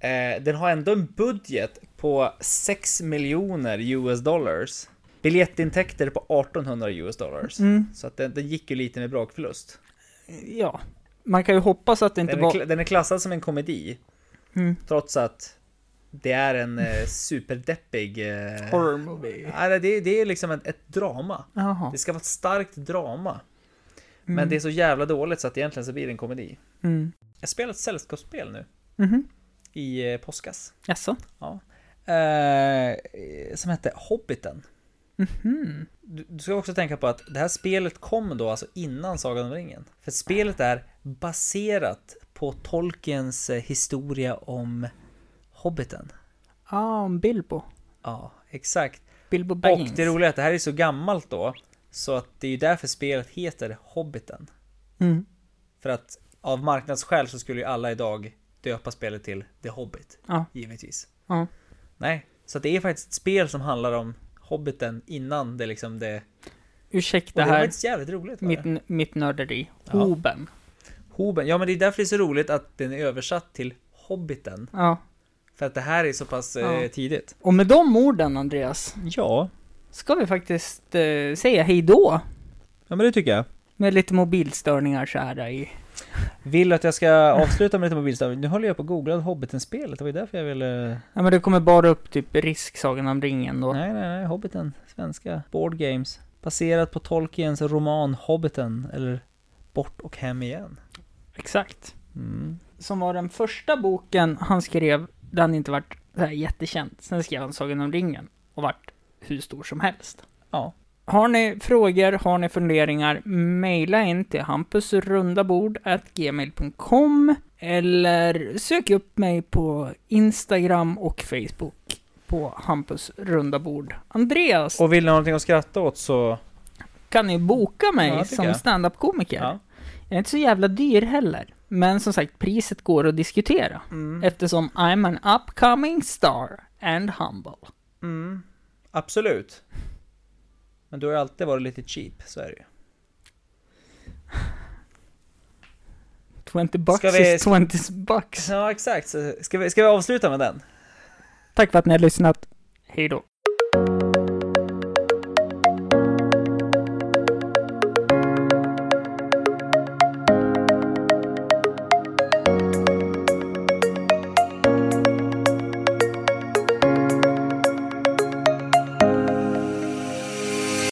Eh, den har ändå en budget på 6 miljoner US dollars. Biljettintäkter på 1800 US dollars. Mm. Så att den, den gick ju lite med brakförlust. Ja. Man kan ju hoppas att det inte Den är, var... kla- den är klassad som en komedi. Mm. Trots att det är en eh, superdeppig... Eh, Horror movie. nej, det, det är liksom ett, ett drama. Jaha. Det ska vara ett starkt drama. Men det är så jävla dåligt så att egentligen så blir det en komedi. Mm. Jag spelar ett sällskapsspel nu Mhm. i eh, påskas. Jaså? Ja. Eh, som hette Hobbiten. Mhm. Du, du ska också tänka på att det här spelet kom då alltså innan Sagan om ringen. För spelet är baserat på Tolkiens eh, historia om Hobbiten. Ah, om Bilbo. Ja, exakt. Bilbo Och Baggins. det roliga är att det här är så gammalt då, så att det är ju därför spelet heter Hobbiten. Mm. För att av marknadsskäl så skulle ju alla idag döpa spelet till The Hobbit, Ja. givetvis. Ja. Nej, så att det är faktiskt ett spel som handlar om Hobbiten innan det liksom det... Och Ursäkta det var här, faktiskt jävligt roligt. var det? mitt, mitt nörderi. Ja. Hoben. Hoben, ja men det är därför det är så roligt att den är översatt till Hobbiten. Ja. För att det här är så pass Ja. eh, tidigt. Och med de orden, Andreas, Ja. ska vi faktiskt eh, säga hej då. ja, men det tycker jag. Med lite mobilstörningar så här i... Vill du att jag ska avsluta med lite mobilstav? Nu håller jag på att googla Hobbiten-spelet, det var ju därför jag ville... Ja men det kommer bara upp typ risk Sagan om ringen då. Nej, nej, nej. Hobbiten. Svenska. Board Games. Baserat på Tolkiens roman Hobbiten, eller Bort och hem igen. Exakt. Mm. Som var den första boken han skrev, den inte vart så här jättekänd. Sen skrev han Sagan om ringen och vart hur stor som helst. Ja. Har ni frågor, har ni funderingar, mejla in till hampusrundabord.gmail.com eller sök upp mig på Instagram och Facebook på Hampus Rundabord. Andreas, Och vill ni ha någonting att skratta åt så... kan ni boka mig Ja, det tycker som jag. standup-komiker? Ja. Jag är inte så jävla dyr heller. Men som sagt, priset går att diskutera. Mm. Eftersom I'm an upcoming star and humble. Mm. Absolut. Men du har ju alltid varit lite cheap, så är det ju. 20 bucks Ska vi- is 20 bucks. *laughs* Ja, exakt. Så Ska vi, ska vi avsluta med den? Tack för att ni har lyssnat. Hej då.